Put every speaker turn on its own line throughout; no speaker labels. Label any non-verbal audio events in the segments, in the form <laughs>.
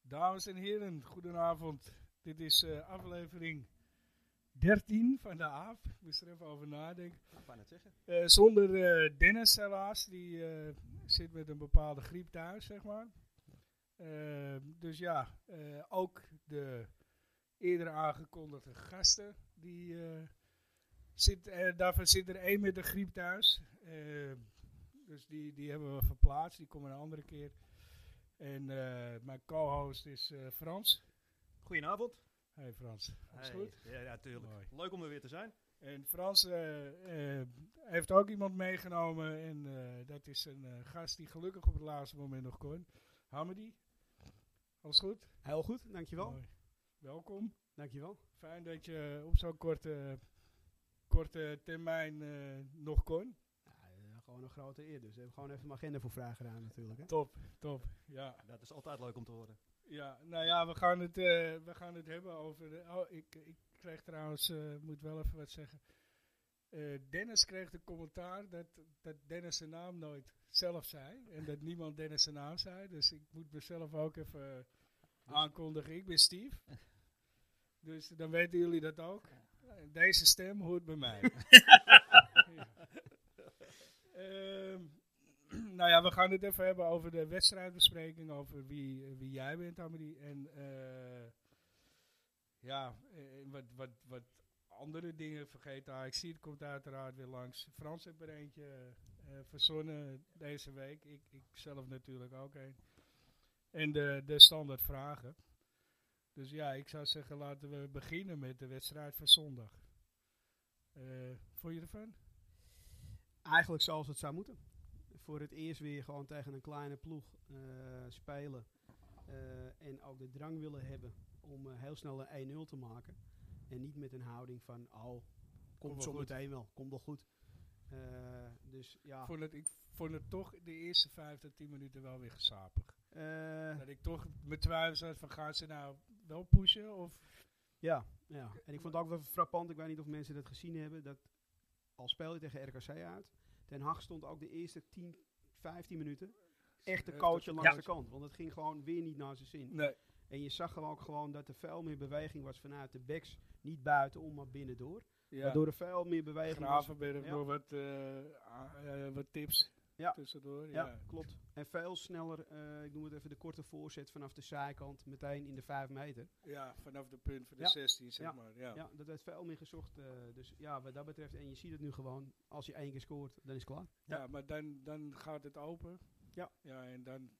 Dames en heren, goedenavond. Dit is eh, aflevering 13 van de AAP. Ik moest er even over nadenken.
Ik wou net zeggen.
Eh, zonder eh, Dennis helaas, die eh, zit met een bepaalde griep thuis, zeg maar. Eh, dus ja, eh, ook de eerder aangekondigde gasten, die eh, zit, eh, daarvan zit er één met de griep thuis. Eh, dus die, die hebben we verplaatst, die komen een andere keer. En eh, mijn co-host is eh, Frans.
Goedenavond.
Hey Frans, alles
Hey.
goed?
Ja, ja, tuurlijk.
Mooi.
Leuk om er weer te zijn.
En Frans eh, eh, heeft ook iemand meegenomen. En eh, dat is een eh, gast die gelukkig op het laatste moment nog kon. Hamidi, alles goed?
Heel goed, dankjewel.
Mooi. Welkom.
Dankjewel.
Fijn dat je op zo'n korte, korte termijn eh, nog kon.
Ja, eh, gewoon een grote eer, dus we hebben gewoon even mijn agenda voor vragen gedaan natuurlijk. Hè?
Top, top. Ja,
Dat is altijd leuk om te horen.
ja nou ja, we gaan het, eh, we gaan het hebben over... De, oh, ik, ik kreeg trouwens, eh moet wel even wat zeggen. Eh, Dennis kreeg de commentaar dat, dat Dennis zijn naam nooit zelf zei. En dat niemand Dennis zijn naam zei. Dus ik moet mezelf ook even eh, aankondigen. Ik ben Steve. Dus dan weten jullie dat ook. En Deze stem hoort bij mij. Ja. Ehm, <clears throat> nou ja, we gaan het even hebben over de wedstrijdbespreking. Over wie, eh, wie jij bent, Amelie. En eh, ja, eh, wat, wat, wat andere dingen vergeten. Ah, AXC komt uiteraard weer langs. Frans heeft er eentje eh, verzonnen deze week. Ik, ik zelf natuurlijk ook een. En de, de standaard vragen. Dus ja, ik zou zeggen laten we beginnen met de wedstrijd van zondag. Eh vond je ervan?
Eigenlijk zoals het zou moeten. Voor het eerst weer gewoon tegen een kleine ploeg eh, spelen. eh, en ook de drang willen hebben om eh, heel snel een 1-0 te maken. En niet met een houding van, oh,
wel
komt zo
goed.
meteen wel, komt wel goed. Eh, dus ja,
Vond het, ik vond het toch de eerste vijf tot tien minuten wel weer gezapig.
eh,
Dat ik toch mijn twijfels had van gaan ze nou wel pushen of...
Ja, ja, en ik vond het ook wel frappant, ik weet niet of mensen dat gezien hebben, dat al speel je tegen RKC uit, Ten Hag stond ook de eerste 10, 15 minuten echt de
Eh,
coach
tot-
langs
Ja.
de kant. Want het ging gewoon weer niet naar zijn zin.
Nee,
En je zag gewoon ook gewoon dat er veel meer beweging was vanuit de backs, niet buitenom, maar binnendoor.
ja.
Waardoor er veel meer beweging was.
Gravenberg
Ja.
door wat, eh, a- eh, wat tips
Ja.
tussendoor. Ja.
Ja, klopt. En veel sneller, eh, ik noem het even de korte voorzet vanaf de zijkant, meteen in de 5 meter.
Ja, vanaf de punt van de
Ja.
16, zeg
Ja.
maar. Ja.
Ja, dat werd veel meer gezocht. eh, dus ja, wat dat betreft, en je ziet het nu gewoon, als je één keer scoort, dan is het klaar.
Ja, maar dan, dan gaat het open.
Ja.
Ja, en dan,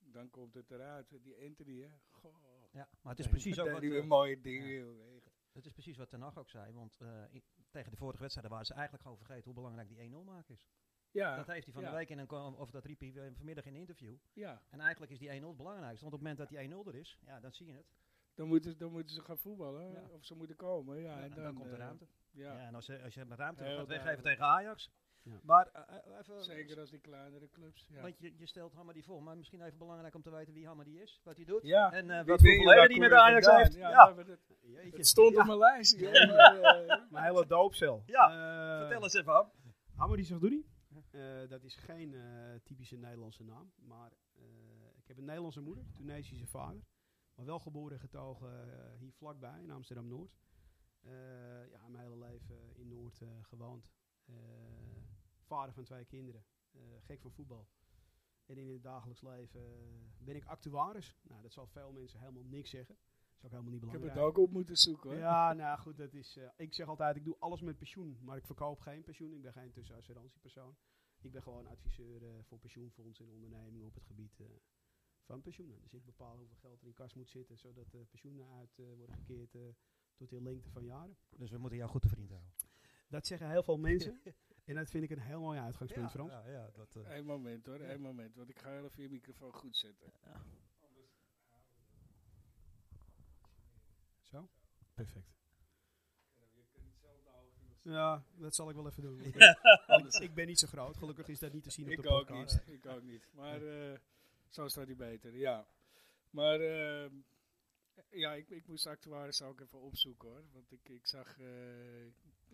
dan komt het eruit. Die Anthony, hè. Goh.
Ja, maar het is precies ook wat,
die weer
eh,
mooie dingen,
ja.
joh. Echt.
het is precies wat Ten Hag ook zei. Want eh, i- tegen de vorige wedstrijden waren ze eigenlijk gewoon vergeten hoe belangrijk die 1-0 maken is.
Ja,
dat heeft hij van
ja.
de week in een ko- of dat riep hij eh, vanmiddag in een interview.
ja.
En eigenlijk is die 1-0 het belangrijkste. Want op het moment dat die 1-0 er is, ja, dan zie je het.
Dan, moeten, dan moeten ze gaan voetballen.
Ja.
Of ze moeten komen. Ja,
Ja,
en,
en dan, komt de
eh,
ruimte.
Ja.
Ja. en als je, als je de ruimte
Heel
gaat
duidelijk.
weggeven tegen Ajax.
Ja.
Maar eh, eh, even,
Zeker als die kleinere clubs. Ja.
Want je, je stelt Hammer die voor. Maar misschien even belangrijk om te weten wie Hammer die is. Wat hij doet.
Ja.
En eh,
Wie
wat
ben je?
voor
Waar
verleden die
kom
met
je
de Ajax
vandaan?
heeft.
Ja,
Ja.
maar dat-
Jeetje.
Het stond op mijn <laughs> lijstje. joh, maar, eh,
Mijn hele doopcel.
Ja,
Eh,
Vertel eens even, Ham.
Hamadi Zagdouri. Eh, dat is geen eh, typische Nederlandse naam. Maar eh, ik heb een Nederlandse moeder, Tunesische vader. Maar wel geboren en getogen eh, hier vlakbij in Amsterdam-Noord. Eh, ja, mijn hele leven in Noord eh, gewoond. Eh, vader van twee kinderen. Eh, gek van voetbal. En in het dagelijks leven eh, ben ik actuaris. Nou, dat zal veel mensen helemaal niks zeggen. Dat is ook helemaal niet
ik heb
belangrijk.
het ook op moeten zoeken hoor.
Ja, nou goed, dat is, eh, ik zeg altijd, ik doe alles met pensioen, maar ik verkoop geen pensioen. Ik ben geen tussenassurantiepersoon. Ik ben gewoon adviseur eh, voor pensioenfondsen en ondernemingen op het gebied eh, van pensioenen. Dus ik bepaal hoeveel geld er in kas moet zitten, zodat de pensioenen uit eh, worden gekeerd eh, tot in lengte van jaren.
Dus we moeten jou goed te vriend houden.
Dat zeggen heel veel
<laughs>
mensen en dat vind ik een heel mooi uitgangspunt, Frans.
Ja, ja, dat, eh,
Eén moment hoor, één moment. Want ik ga heel even je microfoon goed zetten.
Zo? Perfect. Ja, dat zal ik wel
<laughs>
even doen. want
Anders-
ik, ik ben niet zo groot, gelukkig is dat niet te zien op
ik
de
ook
podcast.
niet. Ik ook niet. Maar eh, zo staat hij beter, ja. Maar ehm, ja, ik, ik moest de actuaris ook even opzoeken hoor. Want ik, ik zag. eh,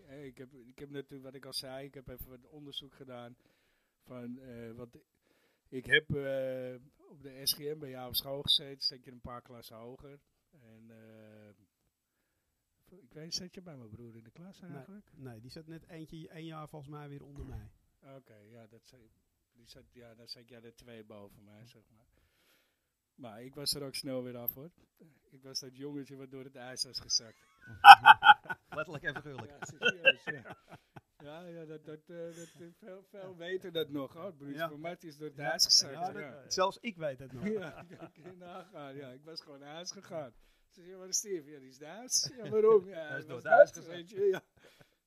eh, ik, heb, ik heb natuurlijk wat ik al zei, ik heb even wat onderzoek gedaan. Van eh, wat Ik heb eh, op de SGM bij jou op school gezeten, zeker een paar klassen hoger. En eh, ik weet, zat je bij mijn broer in de klas
Nee.
eigenlijk?
Nee, die zat net eentje, één jaar volgens mij weer
Eh.
onder mij.
Oké, ja, dat zei, die zat, ja, daar zat jij er twee boven mij, zeg maar. Maar ik was er ook snel weer af, hoor. Ik was dat jongetje wat door het ijs was gezakt.
Letterlijk en figuurlijk.
Ja, serieus, ja. Ja, ja, dat, dat, eh, dat, eh, veel, veel weten dat nog. Oh, Bruce
Ja.
van Mart is door het
Ja,
ijs gezakt.
ja, dat-
ja.
Zelfs ik weet het nog.
Ja, ik kan je nagaan. Ja, ik was gewoon naar huis gegaan. Ze zei, maar Steve, ja, die is Duits. Ja, waarom? Ja,
Hij is door
was
het huis
Duits,
gezet.
weet je, Ja.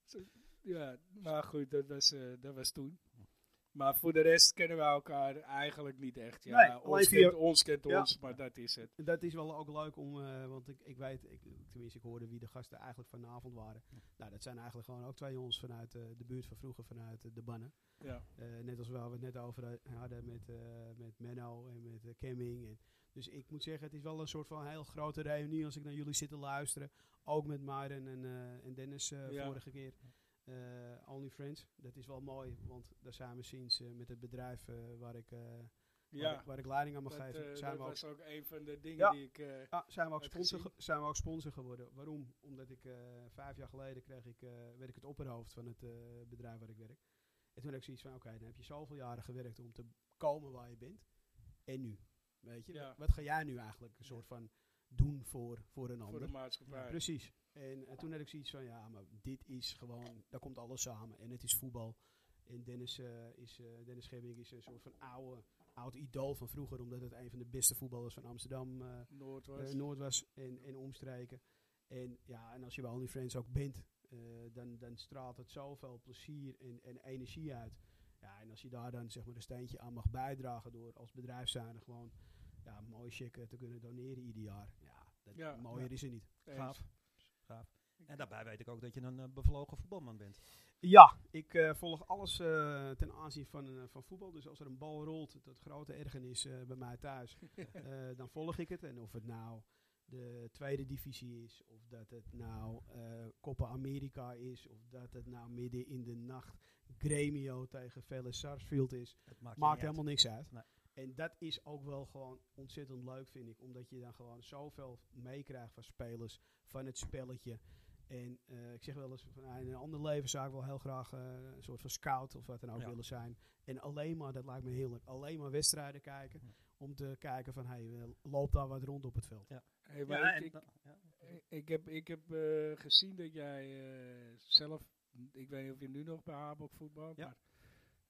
Zo, ja, maar goed, dat was, eh, dat was toen. Maar voor de rest kennen we elkaar eigenlijk niet echt. Ja,
Nee, alleen
ons,
via-
kent, ons kent
Ja.
ons, maar dat is het.
Dat is wel ook leuk om, eh, want ik, ik weet, ik, tenminste ik hoorde wie de gasten eigenlijk vanavond waren. Nou, dat zijn eigenlijk gewoon ook twee jongens vanuit eh, de buurt van vroeger, vanuit eh, de Bannen.
Ja.
Eh, net als waar we het net over eh, hadden met, eh, met Menno en met eh, Kemming. En, dus ik moet zeggen, het is wel een soort van heel grote reunie als ik naar jullie zit te luisteren. Ook met Maarten en, eh, en Dennis eh,
Ja.
vorige keer. Eh, Only Friends, dat is wel mooi, want daar zijn we sinds eh, met het bedrijf eh, waar, ik, eh, waar,
Ja,
ik, waar ik leiding aan mag
dat,
geven.
eh,
zijn
dat
we ook
was ook een van de dingen
Ja.
die ik... eh,
ja, Ah, zijn we ook,
Heb
sponsor,
gezien.
ge- zijn we ook sponsor geworden. Waarom? Omdat ik eh, vijf jaar geleden kreeg ik, eh, werd ik het opperhoofd van het eh, bedrijf waar ik werk. En toen heb ik zoiets van, oké, dan heb je zoveel jaren gewerkt om te komen waar je bent. En nu, weet je.
Ja.
Wat, wat ga jij nu eigenlijk een soort van doen voor,
voor
voor een
de
ander?
maatschappij.
Precies. En, eh, toen had ik zoiets van, ja, maar dit is gewoon, daar komt alles samen. En het is voetbal. En Dennis, eh is, eh, Dennis Gemming is een soort van oude, oud idool van vroeger. Omdat het een van de beste voetballers van Amsterdam eh,
Noord
eh,
was.
Noord was en, en omstreken. En ja, en als je bij Only Friends ook bent, eh, dan, dan straalt het zoveel plezier en, en energie uit. Ja, en als je daar dan zeg maar een steentje aan mag bijdragen door als bedrijf zijnde gewoon ja, een mooi check eh, te kunnen doneren ieder jaar. Ja, dat,
Ja.
mooier is er niet.
Eens.
Gaaf. Gaaf. En daarbij weet ik ook dat je een eh, bevlogen voetbalman bent.
Ja, ik eh, volg alles eh, ten aanzien van, eh, van voetbal. Dus als er een bal rolt, tot grote ergernis eh, bij mij thuis, eh, dan volg ik het. En of het nou de tweede divisie is, of dat het nou eh Copa America is, of dat het nou midden in de nacht Gremio tegen Vélez Sarsfield is,
Dat maakt, je
maakt
niet uit.
helemaal niks uit.
Nee.
En dat is ook wel gewoon ontzettend leuk, vind ik. Omdat je dan gewoon zoveel meekrijgt van spelers, van het spelletje. En eh, ik zeg wel eens, van, ah, in een ander leven zou ik wel heel graag eh, een soort van scout of wat dan ook
Ja.
willen zijn. En alleen maar, dat lijkt me heerlijk, alleen maar wedstrijden kijken.
Ja.
Om te kijken van, hey, eh, loopt daar wat rond op het veld?
Hey, maar
Ja,
ik-
en
ik-
dan- ja.
Ik- Ik heb, ik heb eh, gezien dat jij eh, zelf, ik weet niet of je nu nog bij Habok voetbalt,
Ja.
maar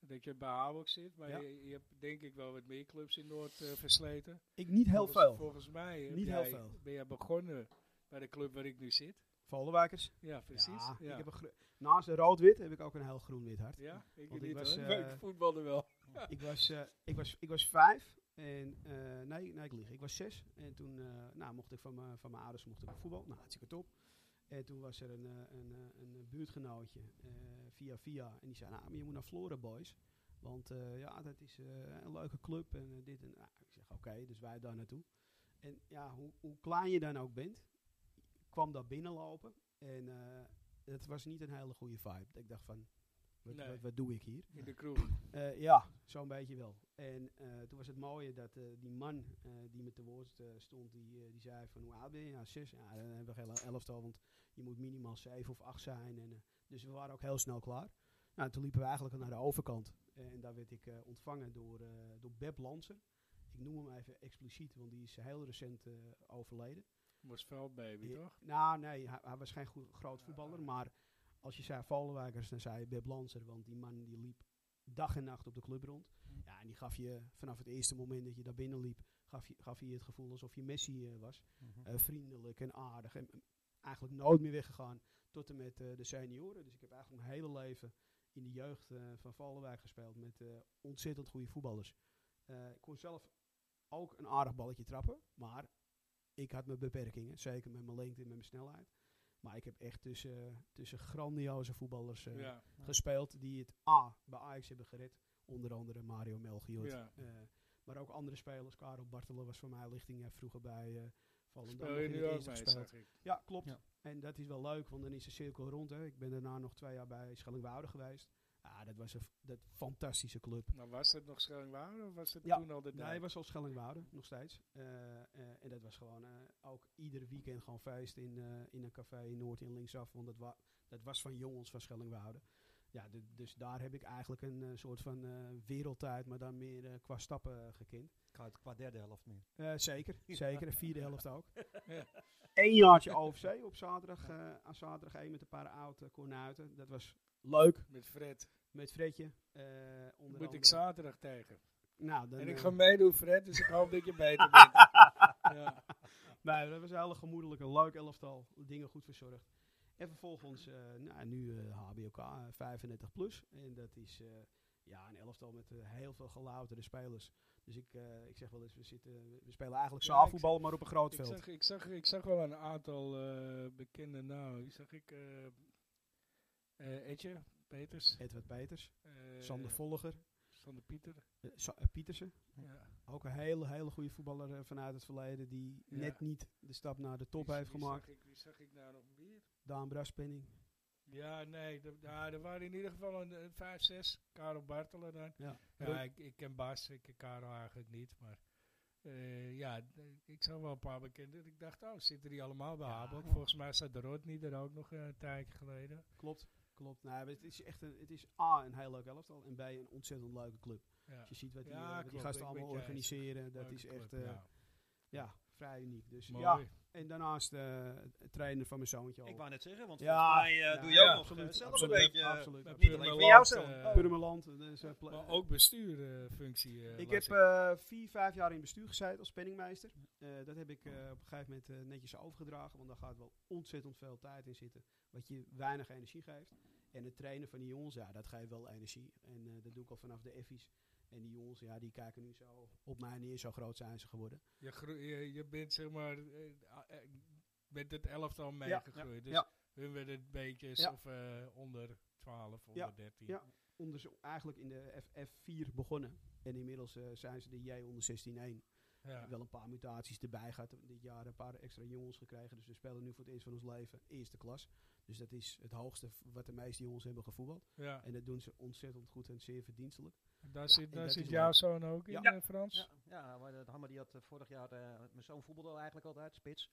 dat je bij Habok zit. Maar
Ja.
je, je hebt denk ik wel wat meer clubs in Noord eh, versleten.
Ik niet heel
Volgens-
veel.
Volgens mij heb
Niet heel
jij-
veel.
ben jij begonnen bij de club waar ik nu zit.
Vollewijkers?
Ja, precies.
Ja,
Ja,
Ik heb een gro- naast een rood-wit heb ik ook een heel groen-wit hart.
Ja, ik
Want
niet
ik was,
hoor.
eh,
Maar ik voetbalde wel.
ik, was, eh, ik, was, ik was vijf. En, eh, nee, nee, ik lieg. Ik was zes. En toen eh, nou, mocht ik van, mijn- van mijn ouders mocht ik op voetbal. Nou, hartstikke top. En toen was er een, eh, een, eh, een eh, buurtgenootje eh, via via. En die zei, nou, maar je moet naar Flora Boys. Want eh, ja, dat is eh, een leuke club. En eh, dit en nou, Ik zeg, oké, dus wij daar naartoe. En ja, hoe, hoe klein je dan ook bent, kwam daar binnenlopen. En eh, het was niet een hele goede vibe. Ik dacht van, wat-
Nee.
wat, wat doe ik hier?
In de kroeg.
Eh, ja, zo'n beetje wel. En eh, toen was het mooie dat eh, die man eh, die me te woord eh, stond, die, eh, die zei van hoe oud ben je? Ja, zes. Ja, dan hebben we geen elftal, want je moet minimaal zeven of acht zijn. En, eh, dus we waren ook heel snel klaar. Nou, toen liepen we eigenlijk al naar de overkant. Eh, en daar werd ik eh, ontvangen door, eh, door Beb Lanser. Ik noem hem even expliciet, want die is heel recent eh, overleden.
Was veldbaby,
Ja.
toch?
Nou, nee, hij, hij was geen goe- groot voetballer. Maar als je zei Volenwijkers, dan zei je Beb Lanser. Want die man die liep dag en nacht op de club rond. Ja, en die gaf je vanaf het eerste moment dat je daar binnen liep, gaf je, gaf je het gevoel alsof je Messi eh, was.
Mhm.
Eh, vriendelijk en aardig. En eh, eigenlijk nooit meer weggegaan tot en met eh, de senioren. Dus ik heb eigenlijk mijn hele leven in de jeugd eh, van Vallenwijk gespeeld met eh, ontzettend goede voetballers. Eh, ik kon zelf ook een aardig balletje trappen, maar ik had mijn beperkingen. Zeker met mijn lengte en met mijn snelheid. Maar ik heb echt tussen, tussen grandioze voetballers eh,
ja.
gespeeld die het A bij Ajax hebben gered. Onder andere Mario Melchior.
ja.
Eh, maar ook andere spelers. Karel Bartelen was voor mij lichting eh, vroeger bij eh Volendam.
Speel
nog
je
in het
nu ook
eerste
mee,
gespeeld.
zag ik.
Ja, klopt.
Ja.
En dat is wel leuk, want dan is de cirkel rond. Hè. Ik ben daarna nog twee jaar bij Schellingwoude geweest. Ja, dat was een f- dat fantastische club.
Nou, was het nog Schellingwaard of was het
Ja.
toen al de
Nee, hij
Dijk?
was al Schellingwoude, nog steeds. Eh, eh, en dat was gewoon eh, ook ieder weekend gewoon feest in, eh, in een café in Noord in Linksaf. Want dat, wa dat was van jongens van Schellingwoude. Ja, du- dus daar heb ik eigenlijk een eh, soort van eh wereldtijd, maar dan meer eh, qua stappen gekend.
Qua, qua derde helft meer.
Eh, zeker, zeker. De vierde helft ook.
Ja.
Eén jaartje OFC op zaterdag, eh, aan zaterdag één met een paar oude kornuiten. Dat was leuk
Met Fred.
met Fredje. eh,
Die
onder
moet ik
andere.
zaterdag tegen.
Nou, dan,
En ik
eh,
ga meedoen, Fred, dus ik hoop dat je
<laughs>
beter bent. Ja.
Nee, dat was een hele gemoedelijke, leuk elftal. Dingen goed verzorgd. En vervolgens, eh, nou, nu eh, HBOK eh, 35 plus. En dat is eh, ja, een elftal met eh, heel veel gelouterde spelers. Dus ik, eh, ik zeg wel eens, we, zitten, we spelen eigenlijk
Ja,
zaalvoetbal, maar op een groot
Ik,
veld.
zag, ik, zag, ik zag wel een aantal eh, bekende namen. Wie zag ik? eh eh, Etje, Peters.
Edward Peters,
eh,
Sander Volliger,
Sander Pieter.
eh, Sa- eh, Pietersen.
Ja.
Ook een hele, hele goede voetballer eh, vanuit het verleden. Die
Ja.
net niet de stap naar de top
Wie-
heeft
wie
gemaakt.
Zag ik, wie zag ik nou nog meer?
Daan Braspenning.
Ja, nee, d- ja, er waren in ieder geval een, een vijf, zes. Karel Bartelen dan.
Ja.
Ja, ik, ik ken Bas, ik ken Karel eigenlijk niet, maar... eh, ja, d- ik zag wel een paar bekenden. Ik dacht, oh, zitten die allemaal bij
Ja.
Habok? Volgens mij zat de Rodney er ook nog eh, een tijdje geleden.
Klopt, klopt. Nou, maar het is echt een, het is A, een heel leuk elftal en B, een ontzettend leuke club.
Ja,
Als je ziet wat die,
Ja,
eh, wat die
klopt,
gasten
ik ben
allemaal
het je eens.
organiseren, dat
Leuke
is
club,
echt eh, ja.
ja.
vrij uniek. Dus
Mooi.
ja, en daarnaast eh, het trainen van mijn zoontje al.
Ik wou net zeggen, want
Ja, nou
volgens mij eh,
Ja,
doe je
ja,
ook nog
absoluut,
eh, zelf
absoluut,
een beetje... eh,
absoluut,
Bij
absoluut.
niet alleen voor jou
Purmerland,
zelf.
eh,
Purmerland. dus, eh, pla-
Maar ook bestuurfunctie.
ik heb eh, vier, vijf jaar in bestuur gezeten als penningmeester. Eh, dat heb ik eh, op een gegeven moment eh, netjes overgedragen, want daar gaat wel ontzettend veel tijd in zitten, wat je weinig energie geeft. En het trainen van die jongens, ja, dat geeft wel energie. En eh, dat doe ik al vanaf de effies. En die jongens, ja, die kijken nu zo op mij neer, zo groot zijn ze geworden.
je, groe- je, je bent zeg maar eh, a- eh, met het elftal
ja,
meegegroeid. dus
ja.
hun werden het beetjes
Ja.
of eh, onder 12, onder
Ja,
13.
ja. onder zo- dus eigenlijk in de F, F4 begonnen. En inmiddels eh, zijn ze de J onder 16 1.
Ja.
Wel een paar mutaties erbij gehad. Dit jaar een paar extra jongens gekregen. Dus we spelen nu voor het eerst van ons leven eerste klas. Dus dat is het hoogste v- wat de meeste jongens hebben gevoetbald.
Ja.
En dat doen ze ontzettend goed en zeer verdienstelijk.
Daar
Ja, en
zit, daar
dat
zit
is
jouw
leuk.
zoon ook in,
Ja.
eh, Frans?
Ja, ja maar dat Hammer die had eh, vorig jaar, eh, mijn zoon voetbalde eigenlijk altijd, spits.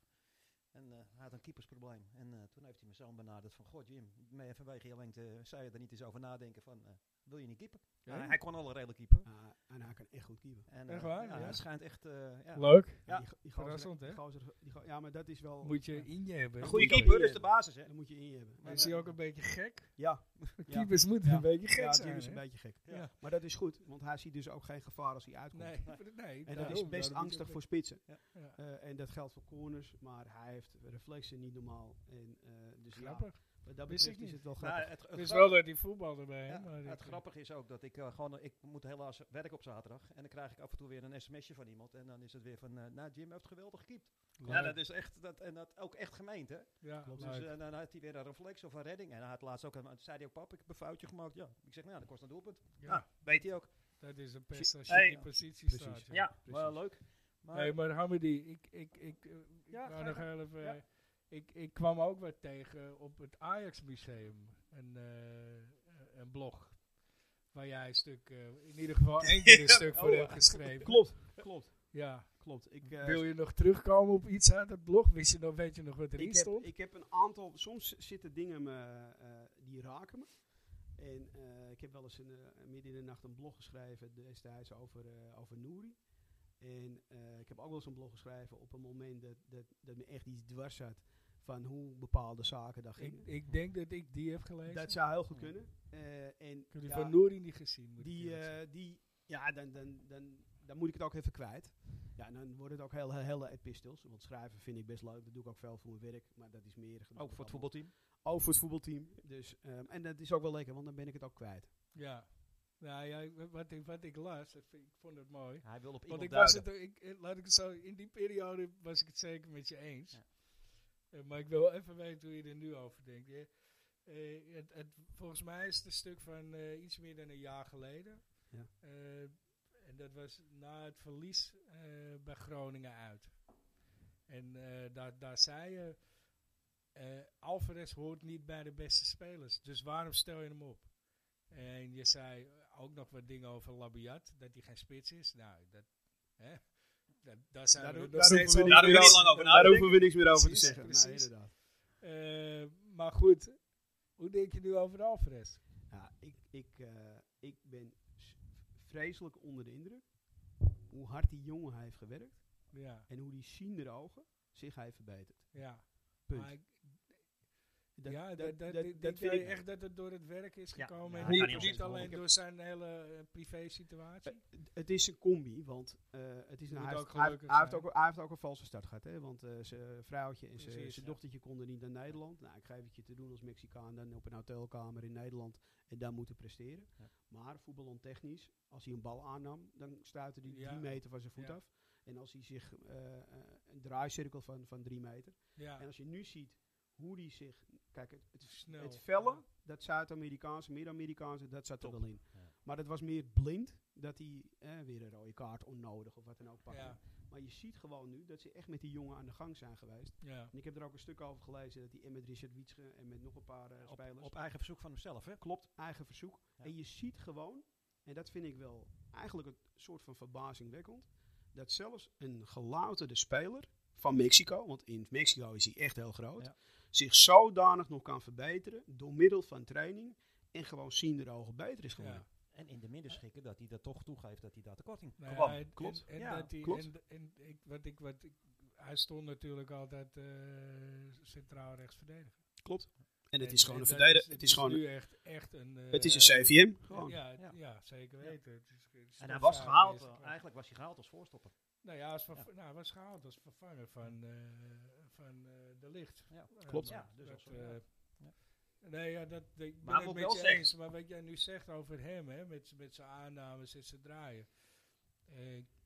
En eh, hij had een keepersprobleem. En eh, toen heeft hij mijn zoon benaderd van, god Jim, me- vanwege je lengte zou je er niet eens over nadenken van, eh, wil je niet keeper? Nou,
Ja.
hij kon al een redelijk keeper.
Ah, en hij kan echt goed keeper.
En,
Echt
eh,
waar,
Ja,
ja.
Hij schijnt echt, eh, ja.
Leuk.
Ja,
die, go- die gozer-
verrassend, hè?
die gozer- die go- ja, maar dat is wel...
Moet je in je hebben.
een
hè?
goede
Moet je-
keeper, is de basis hè.
Dat moet je in je hebben.
Maar,
Is hij
eh,
ook een beetje gek?
Ja, Ja.
Keepers moeten
Ja.
een beetje gek
ja Jim
zijn.
is een
hè?
beetje gek.
Ja.
Maar dat is goed, want hij ziet dus ook geen gevaar als hij <laughs> uitkomt.
Nee, nee,
En dat
daarom,
is best
daarom
angstig
ook-
voor spitsen.
Ja.
Eh, en dat geldt voor corners, maar hij heeft reflexen niet normaal. En, eh, dus ja,
Grappig.
wat dat
Wist ik
betreft is
niet.
het wel
nou,
grappig.
het, het
Het is
grap-
wel dat die voetbal erbij. hè,
ja,
maar
het
ik-
grappige is ook dat ik eh, gewoon, ik moet helaas werken op zaterdag. En dan krijg ik af en toe weer een sms'je van iemand. En dan is het weer van, eh, nou Jim heeft geweldig gekiept. Ja,
Leuk.
dat is echt, dat, en dat ook echt gemeend hè.
Ja,
Klopt.
leuk.
Dus, eh, dan had hij weer een reflex of een redding. En hij had laatst ook, een- zei hij ook, pap, ik heb een foutje gemaakt. Ja, ik zeg, nou, dat kost een doelpunt.
Ja.
Ah, weet hij ook.
Dat is een pest als je
Hey.
in die positie
Precies.
staat.
Ja,
Ja.
precies.
maar eh, leuk. Maar,
Hey, maar Hamidi, ik, ik, ik, eh, ik
Ja,
wou
ga
nog
je
heel even,
Ja.
eh, ik, ik kwam ook wat tegen op het Ajax Museum. Een, eh, een blog. Waar jij een stuk, eh, in ieder geval één keer een stuk voor
Oh,
hebt geschreven.
Klopt, klopt,
Ja.
klopt. Ik, eh,
Wil je nog terugkomen op iets uit het blog? Wist je nog, weet je nog wat erin
ik, heb,
stond?
ik heb een aantal, soms zitten dingen me, eh, die raken me. En eh, ik heb wel eens een, eh, midden in de nacht een blog geschreven destijds over, eh over Nouri. En eh, ik heb ook wel eens een blog geschreven op een moment dat, dat, dat me echt iets dwars zat van hoe bepaalde zaken daar
Ik,
gingen.
ik denk dat ik die heb gelezen.
Dat zou heel goed
Ja.
kunnen. Eh, en
ik heb die
ja,
van Nouri niet gezien. moet ik
Die,
eerlijk zeggen.
eh, die ja, dan, dan, dan, dan moet ik het ook even kwijt. Ja, en dan wordt het ook heel, heel, hele epistels. Want schrijven vind ik best leuk. Dat doe ik ook veel voor mijn werk. Maar dat is meer... dat
ook
ik
voor het
allemaal-
voetbalteam.
Ook voor het voetbalteam. Dus, ehm, en dat is ook wel lekker, want dan ben ik het ook kwijt.
ja. Nou ja, ik- wat ik, wat ik las, dat vind- ik vond het mooi.
Hij wil op
Want
iemand
ik was
duiden.
het, ik, eh, laat ik het zo, in die periode was ik het zeker met je eens.
Ja.
Eh, maar ik wil even weten hoe je er nu over denkt. Je, eh, het, het, volgens mij is het een stuk van eh, iets meer dan een jaar geleden.
Ja.
Eh, en dat was na het verlies eh, bij Groningen uit. En eh, daar, daar zei je, eh, Alvarez hoort niet bij de beste spelers. Dus waarom stel je hem op? En je zei ook nog wat dingen over Labiat, dat hij geen spits is. Nou, dat, hè? dat daar zijn
Daar
we
ho-
nog
daar
steeds
hoeven we
over.
niet meer
lang over
Daar hoeven we niks meer over te
Precies,
zeggen.
precies.
Nee, inderdaad.
Eh, maar goed, hoe denk je nu over Alvarez?
Ja, ik, ik, eh, ik ben s- vreselijk onder de indruk hoe hard die jongen hij heeft gewerkt
Ja,
en hoe die ziende ogen zich hij verbeterd.
ja.
Punt.
Maar ik-
Dat-
ja,
dat-
dat, dat,
dat-
ik
dat
denk
vind
jij
ik-
echt dat het door het werk is
Ja,
gekomen.
ja,
en
dat
niet,
kan niet
niet
anders.
alleen door zijn hele eh, privé-situatie.
Het is een combi, want eh, het is
Je
nou,
moet ook
hij, heeft, hij, heeft-
gelukkig
hij heeft
zijn.
ook, hij heeft ook een valse start gehad, hè? want eh, zijn vrouwtje en zijn-
Precies,
zijn
ja.
dochtertje konden niet naar Nederland. Nou, ik geef het je te doen als Mexicaan, dan op een hotelkamer in Nederland en daar moeten presteren.
Ja.
Maar voetbal technisch, als hij een bal aannam, dan stuitte hij
Ja.
drie meter van zijn voet
Ja.
af. En als hij zich eh, eh, een draaicirkel van, van drie meter.
Ja,
En als je nu ziet hoe die zich, kijk, het, het
snel.
het vellen, dat Zuid-Amerikaanse, Midden-Amerikaanse, dat zat
Top.
er wel in.
Ja.
Maar dat was meer blind, dat hij eh, weer een rode kaart onnodig of wat dan ook pakte.
Ja,
Maar je ziet gewoon nu dat ze echt met die jongen aan de gang zijn geweest.
ja,
En ik heb er ook een stuk over gelezen dat hij en met Richard Wietsche en met nog een paar eh,
Op,
spelers,
op eigen verzoek van hemzelf, hè?
klopt, eigen verzoek.
Ja.
En je ziet gewoon, en dat vind ik wel eigenlijk een soort van verbazingwekkend, dat zelfs een gelouterde speler van Mexico, want in Mexico is hij echt heel groot,
Ja.
zich zodanig nog kan verbeteren door middel van training en gewoon zien ogen beter is geworden.
ja.
En in de midden schikken dat hij dat toch toegeeft dat hij daar tekorting
Nou
kwam.
ja, en-
klopt.
En, en
Ja,
dat die,
klopt.
En, en ik, wat ik, wat ik, hij stond natuurlijk altijd eh, centraal rechts verdediger.
Klopt. En het
En-
is
en
gewoon een
dat
verdediger. Het is gewoon,
nu echt, echt een. eh,
het is een CVM. Gewoon.
Ja, het-
Ja.
ja. zeker
Ja.
weten. Het is- het is toch
En hij was
saai
gehaald,
geweest.
eh, eigenlijk was hij gehaald als voorstopper.
Nou ja, hij is verv-
Ja.
nou, hij was gehaald als vervanger van, eh, van eh, de licht.
Ja.
Eh,
Klopt.
maar
Ja, dus als-
eh,
ja. Ja.
Nee, ja, dat ik ben
Maar
ik
wil
met
wel
je
zeggen-
eens. Maar wat jij nu zegt over hem, hè, met, z'n- met zijn aannames en zijn draaien. Eh,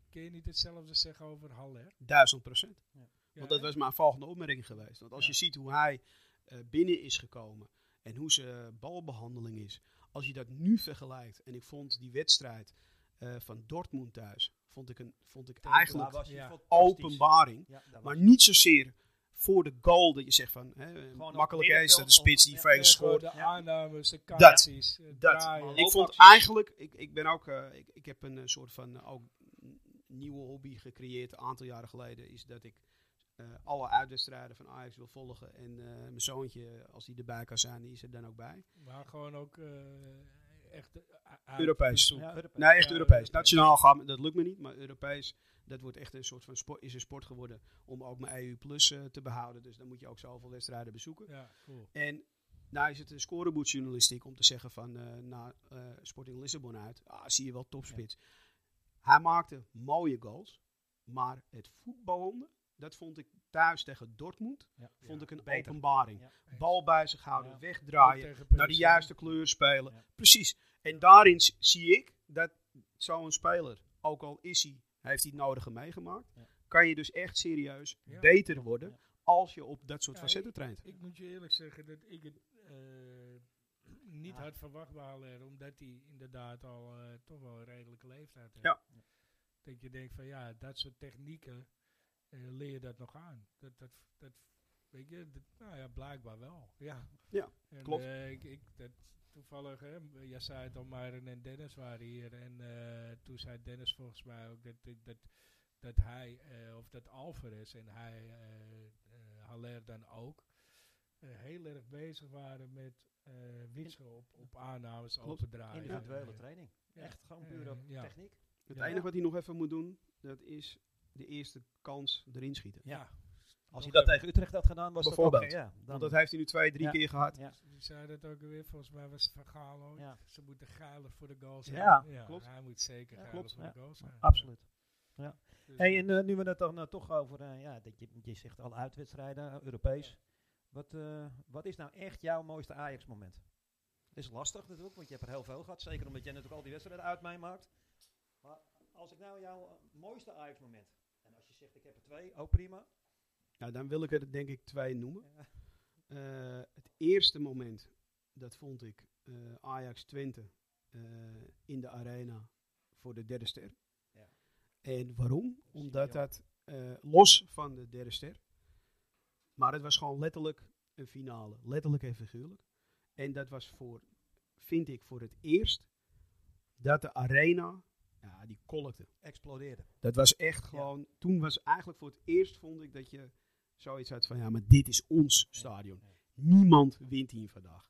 kun je niet hetzelfde zeggen over Haller? Eh,
Duizend procent.
Ja,
Want dat
hè?
was mijn volgende opmerking geweest. Want als
Ja.
je ziet hoe hij eh, binnen is gekomen en hoe zijn balbehandeling is. Als je dat nu vergelijkt. En ik vond die wedstrijd eh, van Dortmund thuis. Vond ik, een, vond ik eigenlijk
Daar was hij
Ja.
fantastisch.
openbaring.
Ja, daar
Maar
was-
niet zozeer voor de goal dat je zegt van. Hè,
Gewoon op
makkelijk is dat
middenveld
de spits die
om-
Frank
Nee, gewoon
scoort.
De
Ja.
aannames, de
Dat.
kaartjes, het
Dat.
draaien.
Ik vond
Loopacties.
eigenlijk, ik, ik ben ook, eh, ik, ik heb een eh, soort van eh, ook n- nieuwe hobby gecreëerd een aantal jaren geleden. Is dat ik eh, alle uitwedstrijden van Ajax wil volgen. En eh, mijn zoontje, als die erbij kan zijn, die is er dan ook bij.
Maar gewoon ook eh, echt... eh, uit-
Europees.
bezoek.
Ja, Europees.
Nee, echt
Ja,
Europees.
Europees.
Nationaal gaan, we- dat lukt me niet, maar Europees. Dat wordt echt een soort van sport, is een sport geworden om ook mijn EU Plus eh, te behouden. Dus dan moet je ook zoveel wedstrijden bezoeken.
Ja, cool.
En nou is het een scorebootjournalistiek om te zeggen van eh na eh, Sporting Lissabon uit, ah, zie je wel topspits. Hij maakte mooie goals, maar het voetballen, dat vond ik thuis tegen Dortmund,
Ja.
vond ik een
beter.
openbaring.
Ja.
Bal bij zich houden,
Ja.
wegdraaien,
Tegen
naar de
PSV.
juiste kleur spelen.
Ja.
Precies. En daarin s- zie ik dat zo'n speler, ook al is hij, heeft hij het nodige meegemaakt,
Ja.
kan je dus echt serieus
Ja.
beter worden
Ja.
als je op dat soort
Ja,
facetten traint.
Ik moet je eerlijk zeggen dat ik het eh, <clears throat> niet
Ja.
had verwacht bij Haller, omdat hij inderdaad al eh, toch wel een redelijke leeftijd heeft.
Ja.
Dat je denkt van ja, dat soort technieken eh, leer je dat nog aan. Dat, dat, dat weet je, dat- nou ja, blijkbaar wel. Ja,
Ja,
En,
klopt.
eh, ik, ik, dat, toevallig, hè, m- jij zei het al, Myron en Dennis waren hier en eh, toen zei Dennis volgens mij ook dat, dat, dat dat hij, eh, of dat Alvarez en hij, eh, eh, Haller dan ook, eh, heel erg bezig waren met eh wisselen op, op aannames,
Klopt.
opendraaien.
Individuele
Eh,
training.
ja.
Echt gewoon
Eh,
puur op
ja.
techniek.
Het
Ja.
enige wat hij nog even moet doen, dat is de eerste kans erin schieten.
Ja.
Als
Nog
hij dat
even.
tegen Utrecht had gedaan, was dat
Bijvoorbeeld.
oké, ja, dan-
Want dat heeft hij nu twee, drie
Ja.
keer gehad.
ja.
Die zei dat ook weer, volgens mij was het Van Gaal ooit.
Ja.
Ze moeten geiler voor de goal zijn.
Ja,
klopt.
Hij moet zeker
Ja,
geiler
klopt,
voor
ja.
de goal zijn.
Absoluut.
Ja, dus
Hey, en eh, nu we het dan eh, toch over, eh, ja, dat je, je zegt alle uitwedstrijden, eh, Europees. Wat, eh, wat is nou echt jouw mooiste Ajax-moment? Dat is lastig natuurlijk, want je hebt er heel veel gehad. Zeker omdat jij natuurlijk al die wedstrijden uit mij maakt. Maar als ik nou jouw eh, mooiste Ajax-moment. En als je zegt ik heb er twee, ook prima.
Nou, dan wil ik er denk ik twee noemen. Eh, het eerste moment, dat vond ik eh, Ajax Twente eh, in de arena voor de derde ster.
Ja.
En waarom? Omdat
Simeone.
dat eh, los van de derde ster, maar het was gewoon letterlijk een finale, letterlijk en figuurlijk. En dat was voor vind ik voor het eerst dat de arena, ja, die kolkte.
Explodeerde.
Dat was echt gewoon, toen was eigenlijk voor het eerst vond ik dat je zoiets had van, ja, maar dit is ons stadion.
Ja.
Niemand wint hier vandaag.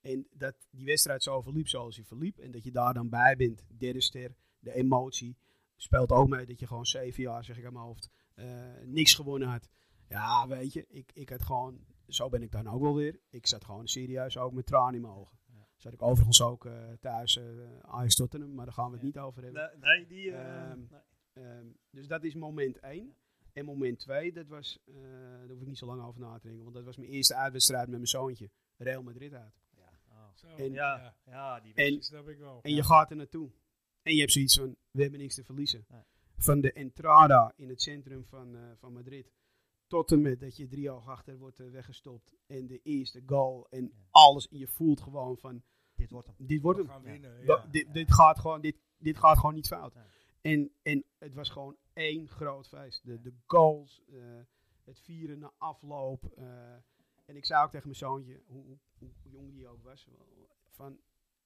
En dat die wedstrijd zo verliep zoals hij verliep. En dat je daar dan bij bent. Derde ster, de emotie. Speelt ook mee dat je gewoon zeven jaar, zeg ik aan mijn hoofd, eh, niks gewonnen had. Ja, weet je, ik, ik had gewoon, zo ben ik dan ook wel weer. Ik zat gewoon serieus ook met tranen in mijn ogen.
Ja.
Zat ik overigens ook eh, thuis, eh Ajax Tottenham, maar daar gaan we het
Ja.
niet over hebben.
Nee, nee, die... eh,
Ehm,
nee.
ehm, dus dat is moment 1. En moment 2, dat was, eh, daar hoef ik niet zo lang over na te denken, want dat was mijn eerste uitwedstrijd met mijn zoontje. Real Madrid uit.
Ja. Oh.
Zo,
En-
ja. dus
ja. ja, die...
En
dat snap ik wel.
En je gaat er naartoe. En je hebt zoiets van, we hebben niks te verliezen.
Nee.
Van de entrada in het centrum van, eh, van Madrid. Tot en met dat je drie hoog achter wordt eh, weggestopt. En de eerste goal en
Ja.
alles. En je voelt gewoon van,
Dit wordt hem.
dit wordt
We
hem.
gaan
Ja.
winnen.
Da-
Ja.
dit,
ja.
dit, gaat gewoon, dit, dit gaat gewoon niet fout.
Nee.
En, en het was gewoon één groot feest. De, de goals, eh, het vieren na afloop. eh, en ik zei ook tegen mijn zoontje, hoe, hoe, hoe jong die ook was, van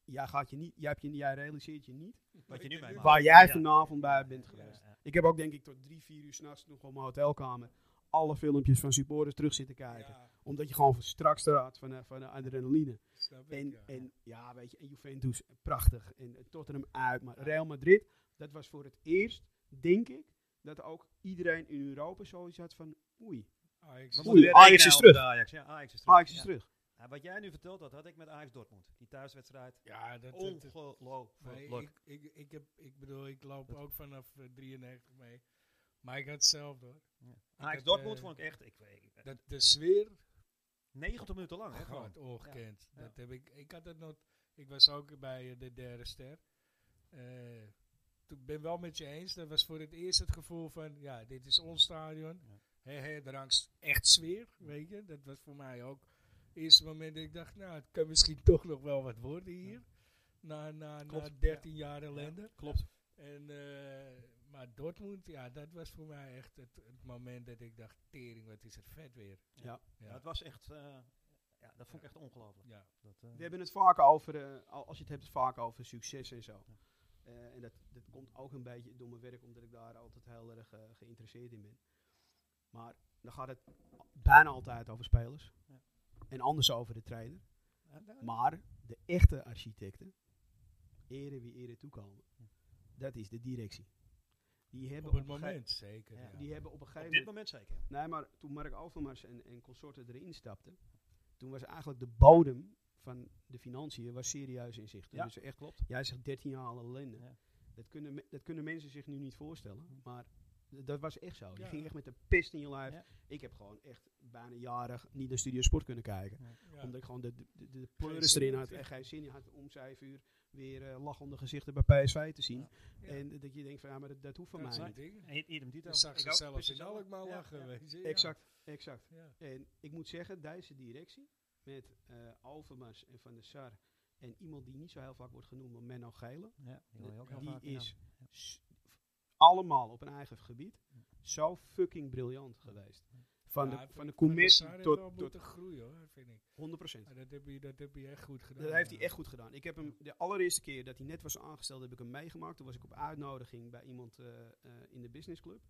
jij, gaat je niet, jij, hebt je, jij realiseert je niet
Wat je nu meemaakt.
waar jij
Ja.
vanavond bij bent
Ja,
geweest.
ja.
Ik heb ook denk ik tot drie, vier uur s'nachts nog op mijn hotelkamer alle filmpjes van supporters terug zitten kijken.
Ja,
Omdat je gewoon straks eruit van, eh, van de adrenaline.
snap ik,
En
ja.
en, ja, weet je, en Juventus, prachtig. En eh, Tottenham uit. Maar Real Madrid, dat was voor het eerst, denk ik, dat ook iedereen in Europa zoiets had van, oei,
Ajax.
We
Oei,
moeten weer
Ajax
rekenen
is
op
terug.
de Ajax. Ja, Ajax is terug.
Ajax is
Ja.
terug.
Ja, wat jij nu vertelt, dat had ik met Ajax Dortmund. Die thuiswedstrijd.
Ja, dat, dat, dat- maar
Ongelooflijk.
ik, ik, ik, heb, ik bedoel, ik loop ook vanaf eh, 93 mee. Maar ik had hetzelfde hoor.
Ajax
heb,
Dortmund
eh,
vond ik echt. Ik, ik,
Dat de sfeer
90 minuten lang, hè? gewoon.
Gaat ongekend.
Oh, Ja.
Dat heb ik, ik had het nog, ik was ook bij eh, de derde ster. Eh, Ik ben wel met je eens, dat was voor het eerst het gevoel van, ja, dit is ons stadion.
Ja.
Hé, hé, er hangt echt sfeer, weet je. Dat was voor mij ook het eerste moment dat ik dacht, nou, het kan misschien <laughs> toch nog wel wat worden hier. Na, na, na
Klopt,
13 jaar ellende.
Klopt.
En, eh, maar Dortmund, ja, dat was voor mij echt het, het moment dat ik dacht, tering, wat is het vet weer.
Ja.
Ja, het was echt. eh, ja, dat vond ik echt ongelooflijk.
Ja.
Dat, eh,
We hebben het vaak over, eh, al- als je het hebt, vaak over succes en zo.
Ja.
Eh, en dat, dat komt ook een beetje door mijn werk, omdat ik daar altijd heel erg eh, geïnteresseerd in ben. Maar dan gaat het bijna altijd over spelers.
Ja.
En anders over de trainer.
ja, nou,
Maar de echte architecten, ere wie ere toekomen, dat is de directie. Die hebben
Op het
een gege-
moment, zeker.
Ja.
ja.
Die hebben op een
op
gegeven
dit
moment.
moment zeker.
Nee, maar toen Mark Overmars en, en consorten erin stapten, toen was eigenlijk de bodem van de financiën was serieus in zicht.
Ja,
Dus echt,
klopt.
jij zegt 13 jaar al ellende.
Ja. Hm.
Dat, kunnen, me- dat kunnen mensen zich nu niet voorstellen, maar d- dat was echt zo. Je
Ja.
ging echt met de pest in je lijf.
Ja.
Ik heb gewoon echt bijna jarig niet naar Studio Sport kunnen kijken.
Ja.
Omdat ik gewoon de, de, de, de
Geen
pleuris
zin
erin
in
had
het,
en
ja.
geen zin in had om zeven uur weer eh, lachende gezichten bij PSV te zien.
Ja.
En dat je denkt van ja, maar dat, dat hoeft van
dat
mij
zijn
niet.
dingen.
Idem dito.
Ik zag
Ik
ze
ook,
zelfs
precies
in Alkmaar
Ja,
lachen,
ja.
weet je. ja.
Exact, exact.
Ja.
En ik moet zeggen, deze directie met eh Overmars en Van der Sar en iemand die niet zo heel vaak wordt genoemd, maar Menno Gele,
Ja, die hoor je ook heel
die
vaak, ja.
is s- allemaal op een eigen gebied zo fucking briljant geweest.
Ja,
Van de, van de
Van de
commissie
Sar heeft wel
tot, tot
moeten groeien hoor, vind ik.
100%.
Maar dat heb je, dat heb je echt goed gedaan.
Dat heeft hij
ja.
echt goed gedaan. Ik heb hem de allereerste keer dat hij net was aangesteld, heb ik hem meegemaakt. Toen was ik op uitnodiging bij iemand eh, eh, in de businessclub.